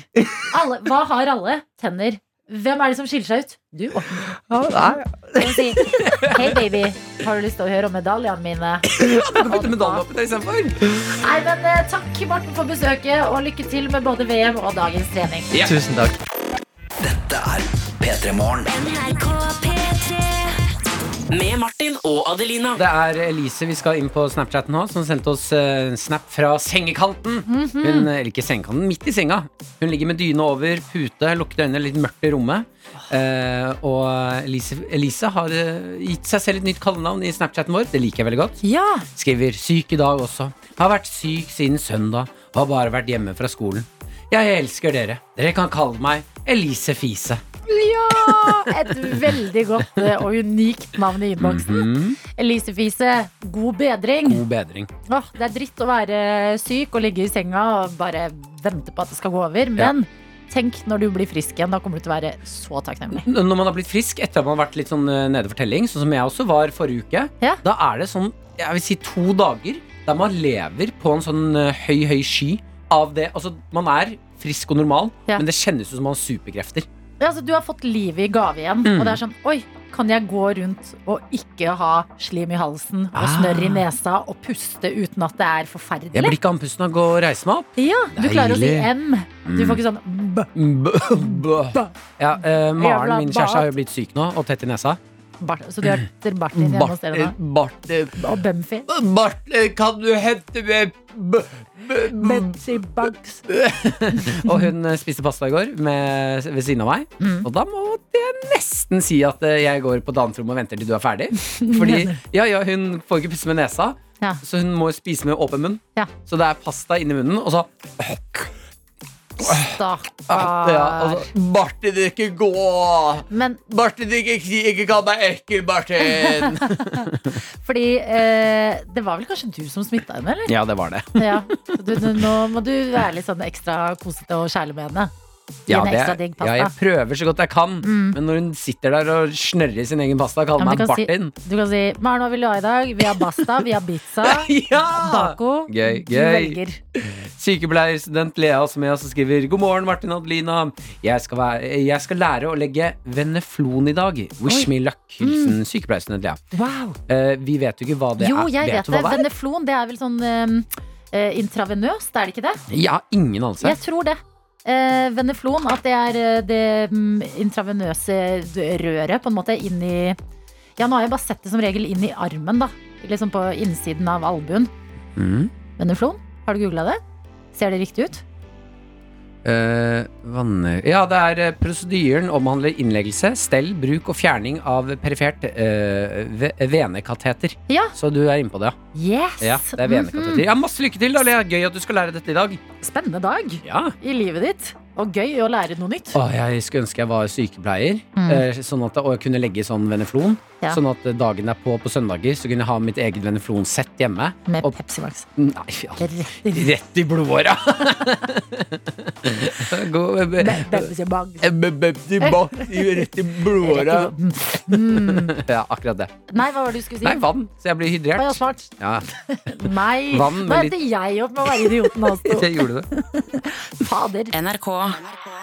S2: Alle, hva har alle? Tenner. Hvem er det som skiller seg ut? Du, Morten. Kan du si, Hei, baby. Har du lyst til å høre om medaljene mine?
S14: Du kan bytte medalje oppi deg istedenfor.
S2: Nei, men eh, Takk, Morten, for besøket, og lykke til med både VM og dagens trening.
S11: Tusen takk.
S7: Dette er P3 Morgen.
S15: NRK P3
S7: Med Martin og Adelina.
S3: Det er Elise vi skal inn på Snapchat nå, som sendte oss eh, en snap fra sengekanten. Hun, eh, eller ikke sengekanten, midt i senga. Hun ligger med dyne over, pute, lukkede øyne, litt mørkt i rommet. Eh, og Elise, Elise har eh, gitt seg selv et nytt kallenavn i Snapchaten vår. Det liker jeg veldig godt.
S16: Ja.
S3: Skriver 'syk i dag også'. Har vært syk siden søndag. Har bare vært hjemme fra skolen. Jeg elsker dere. Dere kan kalle meg Elise Fise.
S2: Ja! Et veldig godt eh, og unikt navn i innboksen.
S3: Mhm.
S2: Elise Fise, god bedring.
S3: God bedring.
S2: Åh, det er dritt å være syk og ligge i senga og bare vente på at det skal gå over. Men tenk når du blir frisk igjen. Da kommer du til å være så takknemlig.
S3: N- Når man har blitt frisk etter at man har vært litt sånn eh, nede for telling, sånn som jeg også var forrige uke, da er det sånn, jeg vil si to dager, der man lever på en sånn eh, høy, høy sky av det. Altså, man er frisk og normal,
S2: Ja.
S3: men det kjennes ut som man har superkrefter.
S2: Ja, altså, du har fått livet i gave igjen.
S3: Mm.
S2: Og det er sånn Oi, kan jeg gå rundt og ikke ha slim i halsen og
S3: Ah.
S2: snørr i nesa og puste uten at det er forferdelig?
S3: Jeg blir ikke andpusten av å gå og reise meg opp.
S2: Ja, du klarer å si
S3: Deilig. Mm.
S2: M. Du får ikke sånn B.
S3: B b ja, eh, Maren,
S2: Jævla
S3: min
S2: bart.
S3: kjæreste, har jo blitt syk nå og tett i nesa.
S2: Bart, så du hørte Bartin hjemme hos dere nå?
S3: Bart,
S2: Og Bemfi?
S3: Bart, kan du hente med Mm.
S2: Betsy Bugs.
S3: Og hun eh, spiste pasta i går med, ved siden av meg.
S2: Mm.
S3: Og da måtte jeg nesten si at eh, jeg går på et annet rom og venter til du er ferdig. Fordi ja, ja, hun får ikke pusse med nesa,
S2: Ja.
S3: så hun må jo spise med åpen munn.
S2: Ja.
S3: Så det er pasta inni munnen, og så ja, altså-
S2: Stakkar.
S3: og så Bartin, ikke gå!
S2: Men
S3: Bartin, ikke, ikke kall meg ekkel, Bartin!
S2: fordi eh, det var vel kanskje du som smitta henne, eller?
S3: ja, det var det.
S2: Ja, du, du, nå må du være litt sånn ekstra kosete og kjærlig med henne. Gi
S3: Ja,
S2: henne
S3: det,
S2: ekstra digg pasta.
S3: ja, jeg prøver så godt jeg kan,
S2: Mm.
S3: men når hun sitter der og snørrer sin egen pasta og
S2: Ja,
S3: kaller
S2: men
S3: meg
S2: du, kan
S3: Bartin
S2: si, du kan si Maren, hva vil du ha i dag? Vi har basta, vi har pizza, taco.
S3: Gøy,
S2: Du
S3: gøy.
S2: velger.
S3: Sykepleierstudent Lea også med oss og skriver God morgen, Martin og Adelina. Jeg skal, være, jeg skal lære å legge veneflon i dag. Wish
S2: Oi.
S3: me luck. Hilsen sykepleierstudent Lea.
S2: Wow.
S3: Eh, vi vet jo ikke hva det
S2: Jo,
S3: er.
S2: jeg vet
S3: du hva
S2: det.
S3: det er?
S2: Veneflon, det er vel sånn eh, intravenøst, er det ikke det?
S3: Jeg har ingen anelse.
S2: Jeg tror det. Eh, veneflon, at det er eh, det mm, intravenøse d- røret på en måte inn i Ja, nå har jeg bare sett det som regel inn i armen, da. Liksom på innsiden av albuen.
S3: Mm.
S2: Veneflon, har du googla det? Ser det riktig ut?
S3: Eh, vanne... Ja, det er eh, prosedyren omhandler innleggelse, stell, bruk og fjerning av perifert eh, ve- venekateter.
S2: Ja.
S3: Så du er inne på det,
S2: Yes!
S3: ja. ja det er venekateter.
S2: Mhm.
S3: Ja, masse lykke til, da, Lea. Gøy at du skal lære dette i dag.
S2: Spennende dag
S3: Ja.
S2: i livet ditt. Og gøy å lære noe nytt.
S3: Åh, jeg skulle ønske jeg var sykepleier,
S2: Mm.
S3: eh, sånn at, og jeg kunne legge sånn veneflon.
S2: Ja.
S3: Sånn at dagen derpå på søndager så kunne jeg ha mitt eget veneflonsett hjemme.
S2: Med
S3: og-
S2: Pepsi Max.
S3: Nei, ja.
S2: Rett i
S3: Rett i blodåra! Gå- eh, be- Eh,
S2: Be- Pepsi Max.
S3: be- Pepsi Max i- Rett i blodåra. Ja, akkurat det.
S2: Nei, hva var det Mm. du skulle si?
S3: Nei, vann, så jeg blir
S2: Å, ja, sånn.
S3: hydrert.
S2: smart.
S3: Ja,
S2: Nei,
S3: Vann med
S2: nå
S3: litt-
S2: endte jeg opp med å være idioten også.
S3: jeg gjorde det.
S2: Fader.
S15: NRK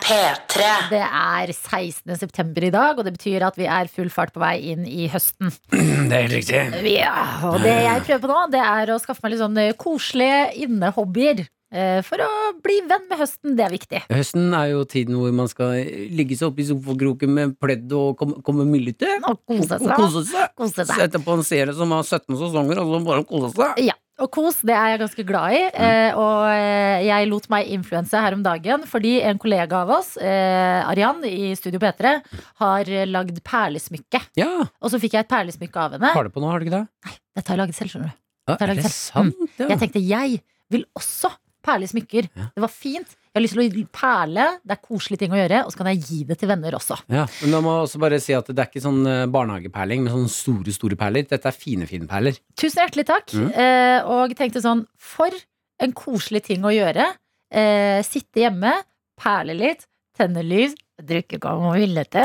S7: P3.
S2: Det er 16. september i dag, og det betyr at vi er full fart på vei inn i høsten.
S3: Det er helt riktig.
S2: Ja, og det jeg prøver på nå, det er å skaffe meg litt sånn eh, koselige innehobbyer. eh, For å bli venn med høsten, det er viktig.
S3: Høsten er jo tiden hvor man skal ligge seg oppe i sofakroken med pledd og kom- komme myllete.
S2: Og kose
S3: Og
S2: seg.
S3: kose seg.
S2: Kose seg.
S3: Sette på en serie som har 17 sesonger, og så bare kose seg.
S2: Ja, og kos, det er jeg ganske glad i.
S3: Mm.
S2: Eh, og eh, jeg lot meg influense her om dagen fordi en kollega av oss, eh, Arian i Studio P3, har eh, lagd perlesmykke. Og så fikk jeg et perlesmykke av henne.
S3: Har du på noe, har du ikke det?
S2: Dette har jeg laget selv, skjønner du.
S3: Ja,
S2: Dette har jeg
S3: er
S2: laget
S3: det
S2: selv.
S3: sant?
S2: Mm. Jeg tenkte jeg vil også perle i smykker. Det var fint. Jeg har lyst til å perle. Det er koselige ting å gjøre. Og så kan jeg gi det til venner også.
S3: Ja, men da må jeg også bare si at det er ikke sånn eh, barnehageperling med sånne store, store perler. Dette er fine, fine perler.
S2: Tusen hjertelig takk.
S3: Mm.
S2: Eh, og tenkte sånn For en koselig ting å gjøre. Eh, sitte hjemme, perle litt, tenne lys, drikke kamomillete,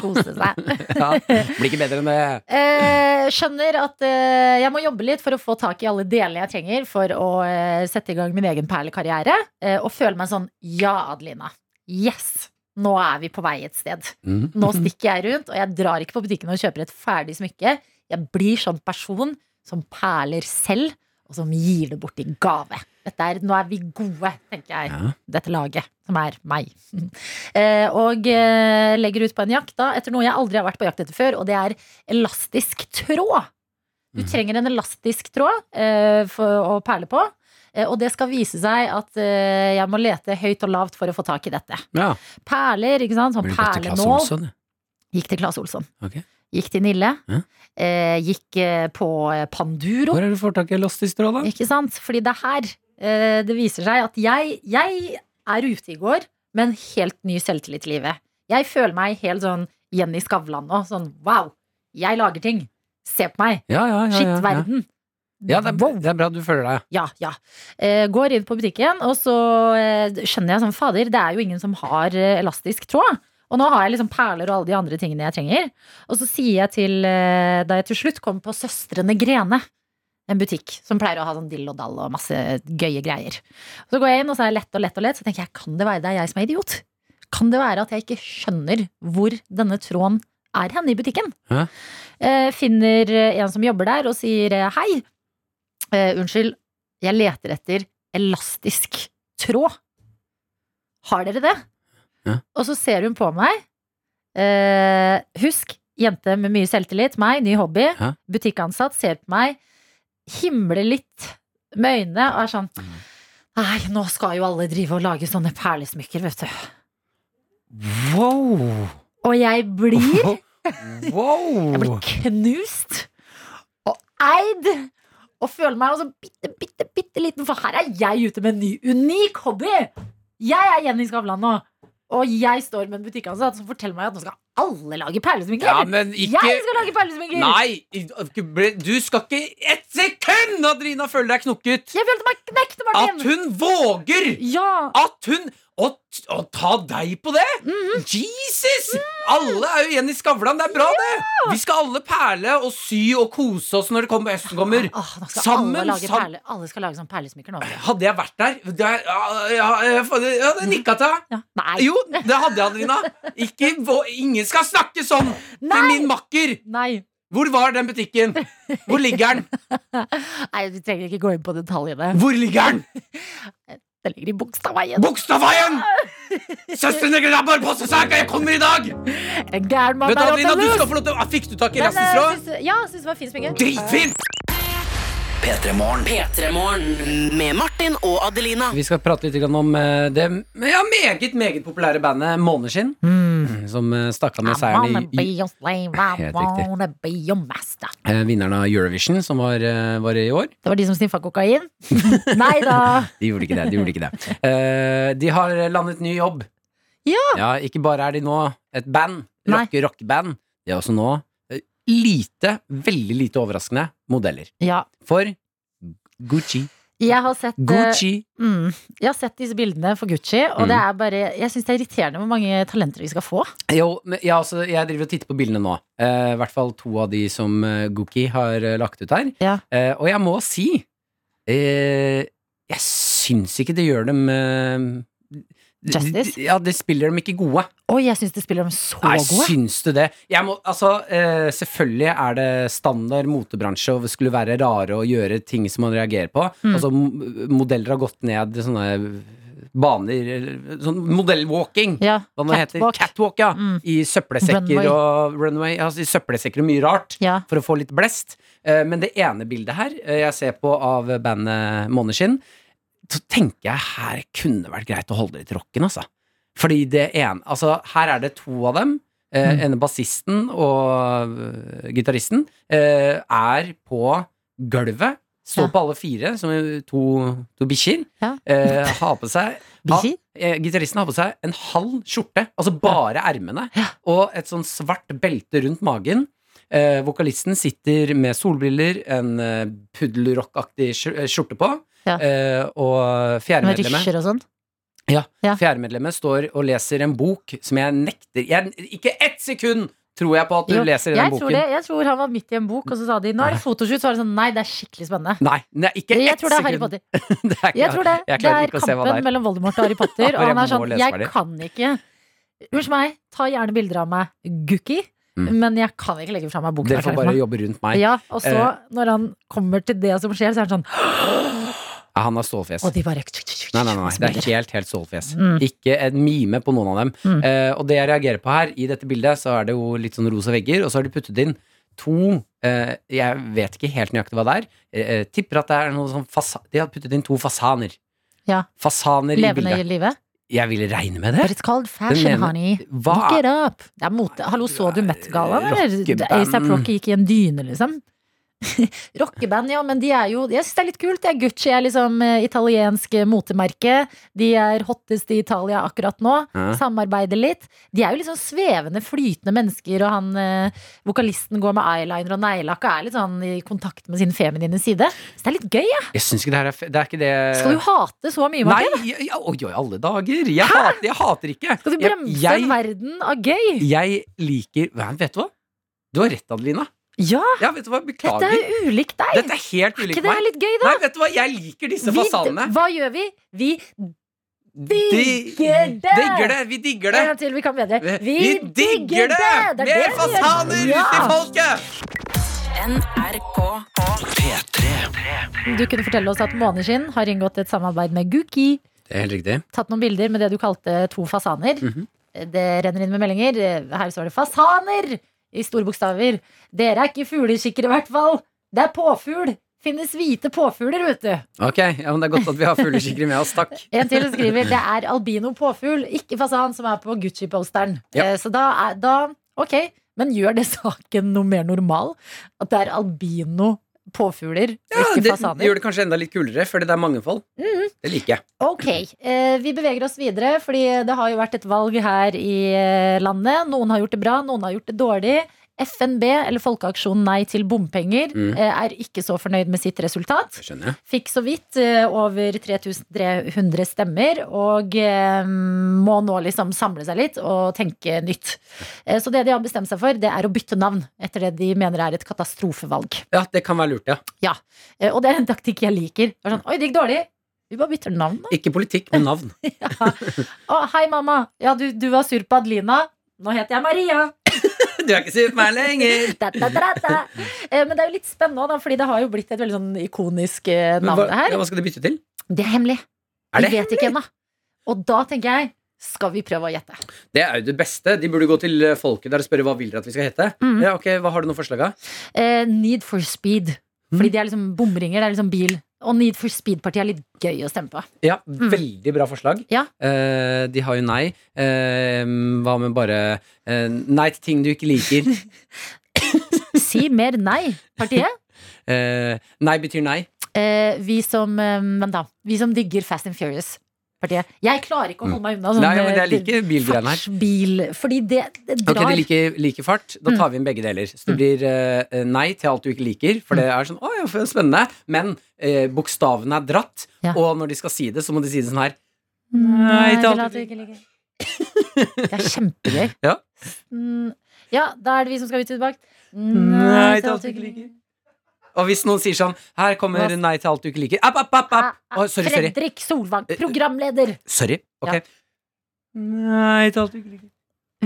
S2: kose seg.
S3: Ja, blir ikke bedre enn det.
S2: Eh, skjønner at eh, jeg må jobbe litt for å få tak i alle delene jeg trenger for å eh, sette i gang min egen perlekarriere. Eh, og føle meg sånn Ja, Adelina. Yes! Nå er vi på vei et sted.
S3: Mm.
S2: Nå stikker jeg rundt, og jeg drar ikke på butikken og kjøper et ferdig smykke. Jeg blir sånn person som perler selv, og som gir det bort i gave. Dette er, nå er vi gode, tenker jeg. Dette laget, som er meg. Eh, og eh, legger ut på en jakt da, etter noe jeg aldri har vært på jakt etter før, og det er elastisk tråd. Du trenger en elastisk tråd eh, for å perle på. eh, Og det skal vise seg at eh, jeg må lete høyt og lavt for å få tak i dette.
S3: Ja.
S2: Perler, ikke sant? Sånn
S3: Burde gått til Claes
S2: perlenål.
S3: Olsson,
S2: Gikk til Claes Olsson.
S3: Ok.
S2: Gikk til Nille.
S3: Ja.
S2: Eh, gikk eh, på eh, Panduro.
S3: Hvor er det du får tak i elastisk tråd, da?
S2: Ikke sant? Fordi det er her eh, det viser seg at jeg, jeg er ute i går med en helt ny selvtillit i livet. Jeg føler meg helt sånn Jenny Skavlan nå. Sånn wow, jeg lager ting. Se på meg.
S3: Ja, ja, ja, ja, ja.
S2: Skittverden.
S3: Ja, det er, det er bra du føler deg.
S2: Ja, ja. Eh, går inn på butikken, og så eh, skjønner jeg sånn, fader, det er jo ingen som har eh, elastisk tråd. Og nå har jeg liksom perler og alle de andre tingene jeg trenger. Og så sier jeg til, eh, da jeg til slutt kom på Søstrene Grene, en butikk som pleier å ha sånn dill og dall og masse gøye greier. Så går jeg inn, og så er jeg lett og lett og lett, så tenker jeg, kan det være det er jeg som er idiot? Kan det være at jeg ikke skjønner hvor denne tråden er hen i butikken?
S3: Hæ?
S2: Eh, finner eh, en som jobber der og sier eh, hei. Eh, unnskyld, jeg leter etter elastisk tråd. Har dere det?
S3: Ja.
S2: Og så ser hun på meg. Eh, husk, jente med mye selvtillit, meg, ny hobby,
S3: Ja.
S2: butikkansatt, ser på meg, himler litt med øynene og er sånn
S3: Mm.
S2: Nei, nå skal jo alle drive og lage sånne perlesmykker, vet du.
S3: Wow!
S2: Og jeg blir Jeg
S3: Wow!
S2: blir knust og eid og føler meg også bitte, bitte, bitte liten, for her er jeg ute med en ny, unik hobby. Jeg er Jenny Skavlan nå, og jeg står med en butikkansatt som forteller meg at nå skal alle lage perlesminker.
S3: Ja, men ikke-
S2: Jeg skal lage perlesminker!
S3: Nei! Du skal ikke ett sekund, Adrina, føle deg knokket!
S2: Jeg følte meg knekt, Martin!
S3: At hun våger! At hun å, t- å ta deg på det! Jesus! Alle er jo Jenny Skavlan. Det er bra, det! Vi skal alle perle og sy og kose oss når det kommer høsten kommer.
S2: Åh, nå skal
S3: Sammen,
S2: alle, lage
S3: sam-
S2: perle, alle skal lage sånn perlesmykker nå.
S3: Hadde jeg vært der det er, ja, ja, jeg hadde- Jeg hadde nikka til deg. Jo, det hadde jeg, Adelina. Ikke, vå- ingen skal snakke sånn til min makker! Hvor var den butikken? Hvor ligger den?
S2: Nei, vi trenger ikke gå inn på detaljene.
S3: Hvor ligger den?
S2: Den ligger i Bogstadveien.
S3: Bogstadveien! Søstrene grabber på seg saker! Jeg kommer i dag!
S2: En gæren mann
S3: Vet du,
S2: er
S3: Adelina,
S2: åpen
S3: du
S2: lus!
S3: skal få lov til å Ah, Fikk du tak i
S2: Men,
S3: elastisk
S2: eh,
S3: tråd?
S2: syns- Ja, syns det var fint sminke.
S3: Dritfint!
S7: P3-morgen. P3-morgen med Martin og Adelina.
S3: Vi skal prate litt grann om eh, det men ja, meget meget populære bandet Måneskinn. Som eh, stakk av med seieren i, i
S2: your slave, I
S3: Helt riktig.
S2: wanna be your master.
S3: eh, vinneren av Eurovision, som var, eh, var i år.
S2: Det var de som sniffa kokain? Nei da.
S3: De gjorde ikke det. De gjorde ikke det Eh, De har landet ny jobb.
S2: Ja.
S3: Ikke bare er de nå et band,
S2: Nei.
S3: rocke rockeband, de er også nå eh, lite, veldig lite overraskende, modeller.
S2: Ja.
S3: For Gucci.
S2: Jeg har sett eh,
S3: Gucci.
S2: Mm, jeg har sett disse bildene for Gucci, og
S3: Mm.
S2: det er bare Jeg syns det er irriterende hvor mange talenter vi skal få.
S3: Jo, men jeg, altså, jeg driver og titter på bildene nå. Eh, I hvert fall to av de som eh, Gookie har eh, lagt ut her.
S2: Ja.
S3: Eh, og jeg må si eh, Jeg syns ikke det gjør dem eh,
S2: Justice?
S3: Ja, det spiller dem ikke gode.
S2: Oi, jeg syns de spiller dem så
S3: Nei,
S2: gode.
S3: syns du det? Jeg må, altså, eh, selvfølgelig er det standard motebransje og det skulle være rare å gjøre ting som man reagerer på.
S2: Mm.
S3: Altså, m- modeller har gått ned sånne baner eller Sånn modellwalking.
S2: Ja,
S3: hva det heter.
S2: catwalk. Mm.
S3: Catwalk, ja. I søppelsekker
S2: Runway.
S3: og runway. Altså, I søppelsekker og mye rart. For å få litt blest. Eh, Men det ene bildet her eh, jeg ser på av bandet Måneskinn, så tenker jeg her kunne vært greit å holde det til rocken, altså. Fordi det ene Altså, her er det to av dem. Eh,
S13: Mm.
S3: Ene bassisten og øh, gitaristen eh, er på gulvet. Står på alle fire som er to, to bikkjer. Eh, har på seg ha, eh, Gitaristen har på seg en halv skjorte, altså bare ermene, og et sånn svart belte rundt magen. Eh, vokalisten sitter med solbriller, en eh, puddelrockaktig skj- eh, skjorte på,
S2: Ja.
S3: eh, og
S2: Med
S3: fjerdemedlemmet
S2: rysjer og sånn.
S3: ja. Fjerdemedlemmet står og leser en bok som jeg nekter jeg, Ikke ett sekund tror jeg på at du
S2: Jo,
S3: leser i
S2: jeg
S3: den
S2: tror
S3: boken.
S2: det, jeg tror han var midt i en bok, og så sa de nå er det fotoshoot. Så var det sånn nei, det er skikkelig spennende.
S3: Nei, nei, ikke
S2: jeg
S3: ett
S2: tror det er Harry
S3: sekund.
S2: Potter.
S3: Det er ikke-
S2: Jeg tror det.
S3: jeg
S2: det
S3: klarer
S2: er
S3: ikke å se hva det
S2: kampen
S3: er.
S2: mellom Voldemort og Harry Potter.
S3: For
S2: Og
S3: jeg
S2: han er
S3: må
S2: sånn
S3: lese
S2: Jeg
S3: ferdig.
S2: kan ikke Unnskyld meg, ta gjerne bilder av meg, Gukki,
S3: Mm.
S2: men jeg kan ikke legge fra meg boken.
S3: Dere
S2: jeg
S3: får
S2: klarer
S3: bare
S2: ikke meg.
S3: jobbe rundt meg.
S2: Ja, og så,
S3: Eh,
S2: når han kommer til det som skjer, så er han sånn
S3: ja, han har stålfjes.
S2: Og de bare
S3: Nei, nei, nei, Altså, det er helt, helt stålfjes.
S2: Mm.
S3: Ikke en mime på noen av dem.
S2: Mm.
S3: Eh, og det jeg reagerer på her, i dette bildet, så er det jo litt sånn rosa vegger, og så har de puttet inn to eh, Jeg vet ikke helt nøyaktig hva det er. Eh, eh, tipper at det er noe sånn fasa De har puttet inn to fasaner.
S2: Ja.
S3: Fasaner i
S2: Levende i
S3: bildet.
S2: livet.
S3: Jeg vil regne med
S2: But
S3: det.
S2: it's called fashion,
S3: Den ene-
S2: honey.
S3: Hva
S2: Look
S3: er-
S2: it up. Det er mote. Hallo, så du Met-gallaen, eller?
S3: Rockeband.
S2: ASAP Rocky gikk i en dyne, liksom. Rockeband, ja, men de er jo Jeg syns det er litt kult. Det er Gucci er liksom eh, italiensk eh, motemerke. De er hottest i Italia akkurat nå.
S17: Ja.
S2: Samarbeider litt. De er jo liksom svevende, flytende mennesker, og han eh, vokalisten går med eyeliner og neglelakk og er litt sånn i kontakt med sin feminine side. Så det er litt gøy, jeg.
S3: Jeg syns ikke det her er f Det er ikke det
S2: Skal du hate så mye, Martin?
S3: Eh, Nei, ja, ja, oi, oi, alle dager. Jeg, hater, jeg hater ikke.
S2: Skal du bremse en
S3: jeg,
S2: verden av gøy?
S3: jeg, jeg liker Nei, Vet du hva? Du har rett, Adelina.
S2: Ja.
S3: vet du hva?
S2: Dette er
S3: Beklager.
S2: jo ulikt deg.
S3: Dette er helt
S2: Er ikke
S3: ulikt
S2: det
S3: meg.
S2: litt gøy, da?
S3: Nei, vet du hva? Jeg liker disse
S2: Vi-
S3: fasanene.
S2: Hva gjør vi? Vi digger det!
S3: digger det, vi digger det.
S2: En gang til, vi kan bedre. Vi,
S3: Vi digger det!
S2: er
S3: Mer
S2: vi gjør.
S3: fasaner ut i
S7: NRK
S2: Du kunne fortelle oss at Måneskinn har inngått et samarbeid med Guki.
S3: Det er helt riktig.
S2: Tatt noen bilder med det du kalte to fasaner.
S3: Mhm.
S2: Det renner inn med meldinger. Her står det 'fasaner' i store bokstaver. Dere er ikke fuglekikkere, i hvert fall. Det er påfugl. Finnes hvite påfugler, vet du.
S3: Ok, ja, men Det er godt at vi har fugleskikkere med oss. Takk.
S2: En til skriver det er albino påfugl, ikke fasan, som er på Gucci-posteren.
S3: Ja.
S2: Eh, Så da, er, da Ok, men gjør det saken noe mer normal? At det er albino påfugler,
S3: Ja,
S2: ikke
S3: det
S2: fasaner?
S3: gjør det kanskje enda litt kulere, fordi det er mangefold.
S2: Mhm.
S3: Det liker jeg.
S2: Ok, eh, vi beveger oss videre, fordi det har jo vært et valg her i eh, landet. Noen har gjort det bra, noen har gjort det dårlig. FNB, eller Folkeaksjonen Nei til bompenger,
S17: Mm.
S2: eh, er ikke så fornøyd med sitt resultat.
S3: Skjønner jeg.
S2: Fikk så vidt eh, over 3300 stemmer, og eh, må nå liksom samle seg litt og tenke nytt. Eh, så det de har bestemt seg for, det er å bytte navn etter det de mener er et katastrofevalg.
S3: Ja, det kan være lurt, ja.
S2: Ja, eh, Og det er en taktikk jeg liker. Det er sånn, Oi, det gikk dårlig. Vi bare bytter navn, da.
S3: Ikke politikk, men navn.
S2: Å, hei, mamma. Ja, du, du var sur på Adelina. Nå heter jeg Maria.
S3: Du er ikke sur på meg lenger.
S2: Da, da, da, da. Eh, Men det er jo litt spennende, også, da, fordi det har jo blitt et veldig sånn ikonisk eh,
S3: Men
S2: navn.
S3: hva,
S2: det her
S3: ja, hva skal du bytte til?
S2: Det er hemmelig.
S3: Er det
S2: vi vet ikke ennå. Og da tenker jeg skal vi prøve å gjette?
S3: Det er jo det beste. De burde gå til eh, folket der og spørre hva vil dere at vi skal hete.
S2: Mhm.
S3: Ja, ok, Hva har du noen forslag av?
S2: Eh, need for speed.
S3: Mm.
S2: Fordi de er liksom bomringer. Det er liksom bil. Og Need for speed-partiet er litt gøy å stemme på.
S3: Ja, veldig bra forslag.
S2: Ja.
S3: Eh, de har jo nei. Eh, hva med bare eh, nei til ting du ikke liker?
S2: Si mer nei-partiet.
S3: Eh, nei betyr nei.
S2: Eh, vi som eh, Men da. Vi som digger Fast and Furious-partiet. Jeg klarer ikke å holde meg unna sånn
S3: nei, men jeg
S2: eh,
S3: liker bilgreiene her.
S2: bil, fordi det, det
S3: Ok,
S2: drar.
S3: de liker, liker fart. Da tar vi inn begge deler. Så det blir eh, nei til alt du ikke liker, for det er sånn å ja, for spennende. Men eh, bokstavene er dratt, og når de skal si det, så må de si det sånn her.
S2: Nei,
S3: til
S2: Mm, vil
S3: alt
S2: at du ikke liker. Det er kjempegøy.
S3: Ja.
S2: Mm, ja, da er det vi som skal ut i tilbake.
S3: Nei, til alt
S2: du
S3: du ikke liker. Og hvis noen sier sånn Her kommer
S2: Hva-
S3: nei til alt du ikke liker. App, app, app, app. Å, Ah, sorry, sorry. Eh,
S2: Fredrik Solvang, programleder.
S3: Sorry. Ok.
S2: Nei, til alt du ikke liker.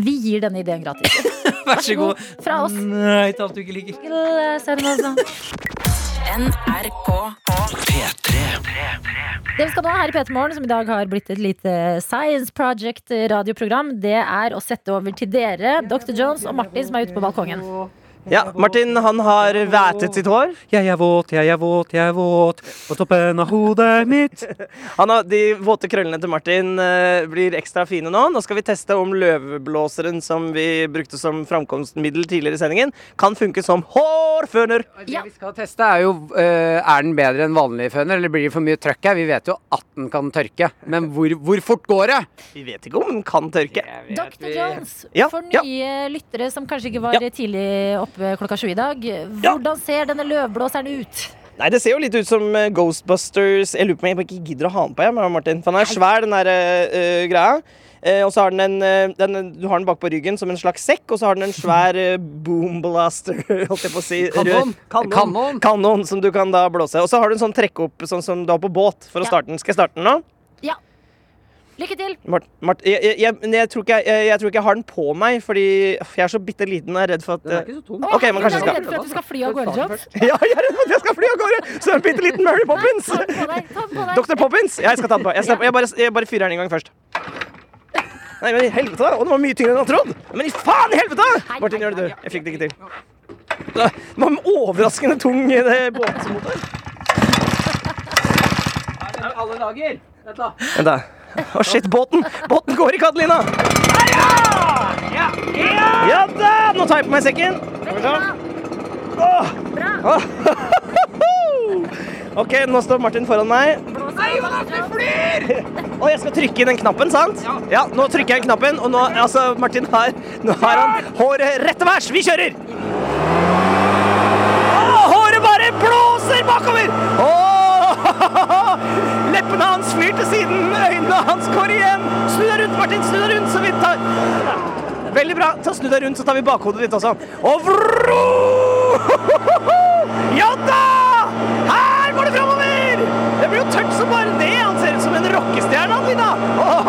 S2: Vi gir denne ideen gratis.
S3: Vær så god.
S2: Fra oss.
S3: Nei til alt du ikke liker.
S2: Send oss nå.
S7: NRK
S2: Det vi skal nå her i Petermorgen, som i dag har blitt et lite Science Project-radioprogram, det er å sette over til dere, Dr. Jones og Martin, som er ute på balkongen.
S5: Ja, Martin han har vætet sitt hår. Jeg er våt, jeg er våt, jeg er våt på toppen av hodet mitt. Han har, de våte krøllene til Martin eh, blir ekstra fine nå. Nå skal vi teste om løveblåseren som vi brukte som framkomstmiddel tidligere i sendingen, kan funke som hårføner.
S3: Det vi skal teste er jo eh, Er den bedre enn vanlig føner, eller blir det for mye trøkk her? Vi vet jo at den kan tørke, men hvor, hvor fort går det?
S5: Vi vet ikke om den kan tørke.
S2: Dr. Jones,
S5: Ja,
S2: for
S5: ja.
S2: nye lyttere som kanskje ikke var tidlig oppe klokka sju i dag, hvordan ser denne løvblåseren ut?
S5: Nei, Det ser jo litt ut som eh, Ghostbusters. Jeg lurer på om jeg ikke gidder å ha den på. Jeg, Martin. For den er svær, den der eh, greia. Eh, og så har den en eh, den, Du har den bakpå ryggen som en slags sekk, og så har den en svær eh, boomblaster, holdt jeg på å si.
S3: Kanon.
S5: Kanon. Kanon. Som du kan da blåse. Og så har du en sånn trekke opp, sånn som du har på båt, for å starte den. Skal jeg starte den nå?
S2: Ja. Lykke til.
S5: Mart, Mart, jeg, jeg, jeg, men jeg, tror ikke jeg, jeg, jeg tror ikke jeg har den på meg, fordi åh, jeg er så bitte liten. Jeg er redd for at Den er ikke så tung. Ok, men kanskje
S2: jeg
S5: jeg
S2: er redd for at du
S5: skal
S2: skal fly av gårde, Jones.
S5: Ja, jeg er redd for at jeg skal fly av gårde! Så en bitte liten Mary Poppins.
S2: Nei, ta den på deg, ta den på deg.
S5: Dr. Poppins! Jeg skal ta den på. Jeg, skal, jeg, bare, jeg bare fyrer den en gang først. Nei, men i helvete, da! Å, den var mye tyngre enn jeg trodd! Men i faen i helvete! Martin, gjør det, du. Jeg fikk det ikke til. Den var med overraskende tung i det båtmotor.
S18: Alle dager. Vent da.
S5: Vent, da. Å, shit, båten! Båten går ikke, Adelina! Ja da! Nå tar jeg på meg sekken. Skal vi se. Åh! Åh. OK, nå står Martin foran meg.
S18: Nei, Jonas, vi flyr!
S5: Og jeg skal trykke inn den knappen, sant? Ja. nå trykker jeg inn knappen, og nå Altså, Martin har Nå har han håret rett til værs! Vi kjører! Åh, håret bare blåser bakover! Åh, Leppene hans flyr til siden, øynene hans går igjen. Snu deg rundt, Martin, snu deg rundt, så vi tar Veldig bra. Ta Snu deg rundt, så tar vi bakhodet ditt også. Og vro! Ja da! Her går det framover! Det blir jo tørt som bare det. Han ser ut som en rockestjerne, han Lina. Åh,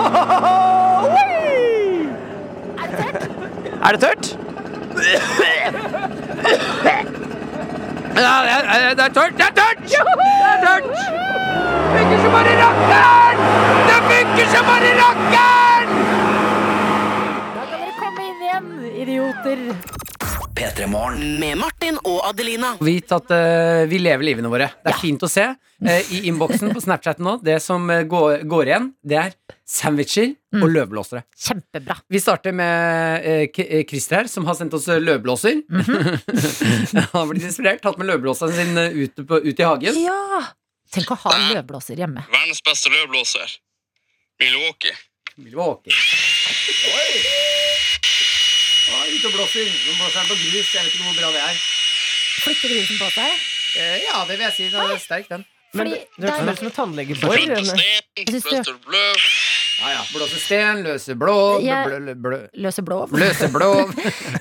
S5: oi! Er det tørt?
S3: Ja, det er, det er tørt! Det er tørt! Det er tørt!
S18: Funker som bare rakkeren! Det funker som bare rakkeren!
S2: Da kan dere komme inn igjen, idioter.
S7: med Martin og Adelina.
S3: Vit at eh, vi lever livene våre. Det er fint å se. Eh, I innboksen på Snapchat nå, det som eh, går, går igjen, det er sandwicher og løvblåsere.
S2: Kjempebra.
S3: Vi starter med eh, K- eh, Christer her, som har sendt oss eh, løvblåser. Han har blitt inspirert, tatt med løvblåseren sin eh, ut, på, ut i hagen.
S2: Ja! Tenk å ha løvblåser hjemme.
S19: Verdens beste løvblåser. Milwaukee.
S3: Milwaukee. Ja, ute og blåser. Nå blåser han på grus. Jeg vet ikke hvor bra det er.
S2: Flytter grusen på seg?
S3: Eh,
S20: Ja, det vil jeg si. Den er sterk, den.
S2: Fordi
S5: Det høres
S2: der-
S5: mer ut som et
S20: Oi,
S5: tannlegebor.
S20: den er-
S2: Jeg synes det
S3: Ja, ja. Blåser sten, løser blå,
S2: Jeg-
S3: blø, blø, blø.
S2: løser blå.
S3: Løser blå.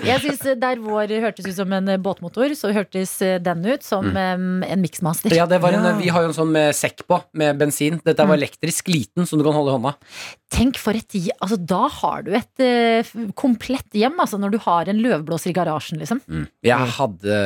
S2: Jeg synes eh, Der vår hørtes ut som en eh, båtmotor, så hørtes eh, den ut som em, en miksmaster.
S3: Mm. Ja, det var en, Vi har jo en sånn med sekk på, med bensin. Dette var elektrisk liten, som du kan holde i hånda.
S2: Tenk for et hje- altså, Da har du et eh, f- komplett hjem, altså, når du har en løvblåser i garasjen, liksom.
S3: Mm. Jeg hadde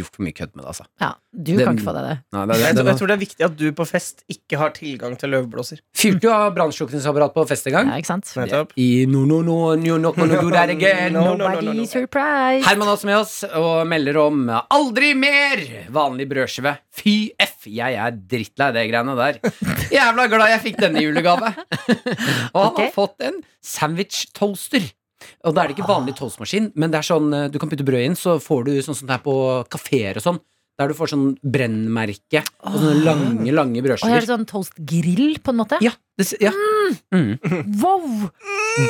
S3: gjort for mye kødd med det, altså.
S2: Ja, du
S3: Det-
S2: kan ikke få deg det.
S3: Nei, det,
S5: Jeg,
S3: det,
S5: tror-
S3: det,
S5: jeg tror det er viktig at du på fest ikke har tilgang til løvblåser.
S3: Fyrte jo av brannslukningsapparat på fest en gang.
S2: Ja, ikke sant?
S5: Nettopp.
S3: I no, no, no, no, no, no, do that again.
S2: Nobody surprised.
S3: Herman er også med oss og melder om aldri mer vanlig brødskive. Fy f, jeg er drittlei det greiene der. Jævla glad jeg fikk denne i julegave. Og han har fått en sandwich toaster. Og da er det ikke vanlig toastmaskin, men det er sånn eh, du kan putte brød inn, så får du sånn som det er på kafeer og sånn. Der du får sånn brennmerke og sånne lange,
S2: Og her er
S3: lange
S2: det
S3: brødskiver.
S2: sånn toastgrill, på en måte.
S3: Ja, det, s- ja. Mm.
S2: Wow!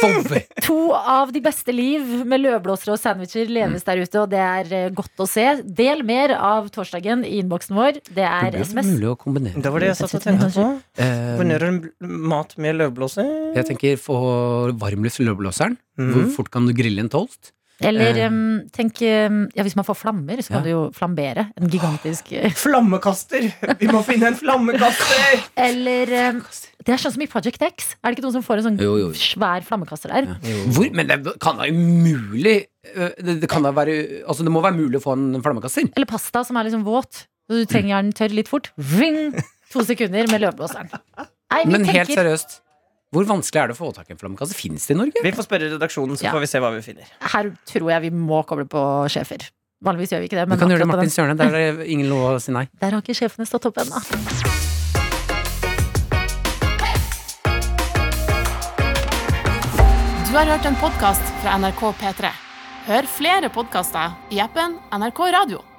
S3: Vov.
S2: To av de beste liv med løvblåsere og sandwicher leves
S3: Mm.
S2: der ute, og det er eh, godt å se. Del mer av torsdagen i innboksen vår. Det
S3: Det
S2: er
S3: blir
S2: SMS.
S3: mulig å kombinere.
S5: Det var det jeg satt og tenkte på.
S3: Eh,
S5: Kombinerer en bl- mat med løvblåser?
S3: Jeg tenker få varmluft i løvblåseren. Hvor fort kan du grille en toast?
S2: Eller
S3: Eh,
S2: em, tenk em, ja, Hvis man får flammer, så kan
S3: Ja.
S2: du jo flambere en gigantisk eh,
S5: Flammekaster! Vi må finne en flammekaster!
S2: Eller em, Det er sånn som i Project X. Er det ikke noen som får en sånn
S3: Jo, jo, jo.
S2: svær flammekaster der?
S3: Hvor? Men det kan Øh, da umulig eh, det, det, kan da være, altså det må være mulig å få en flammekaster.
S2: Eller pasta som er liksom våt. Så du trenger den tørr litt fort. Vring! To sekunder med løvblåseren. Nei, vi
S3: Men helt
S2: tenker-
S3: seriøst, hvor vanskelig er det å få tak i en flammekasse? Fins det i Norge?
S5: Vi får spørre redaksjonen, så
S2: Ja.
S5: får vi se hva vi finner.
S2: Her tror jeg vi må koble på sjefer. Vanligvis gjør vi ikke det.
S3: Du kan gjøre
S2: akkurat
S3: det,
S2: på
S3: Martin
S2: den-
S3: Sørne. Der er det ingen lov å si nei.
S2: Der har ikke sjefene stått opp ennå.
S1: Du har hørt en podkast fra NRK P3. Hør flere podkaster i appen NRK Radio.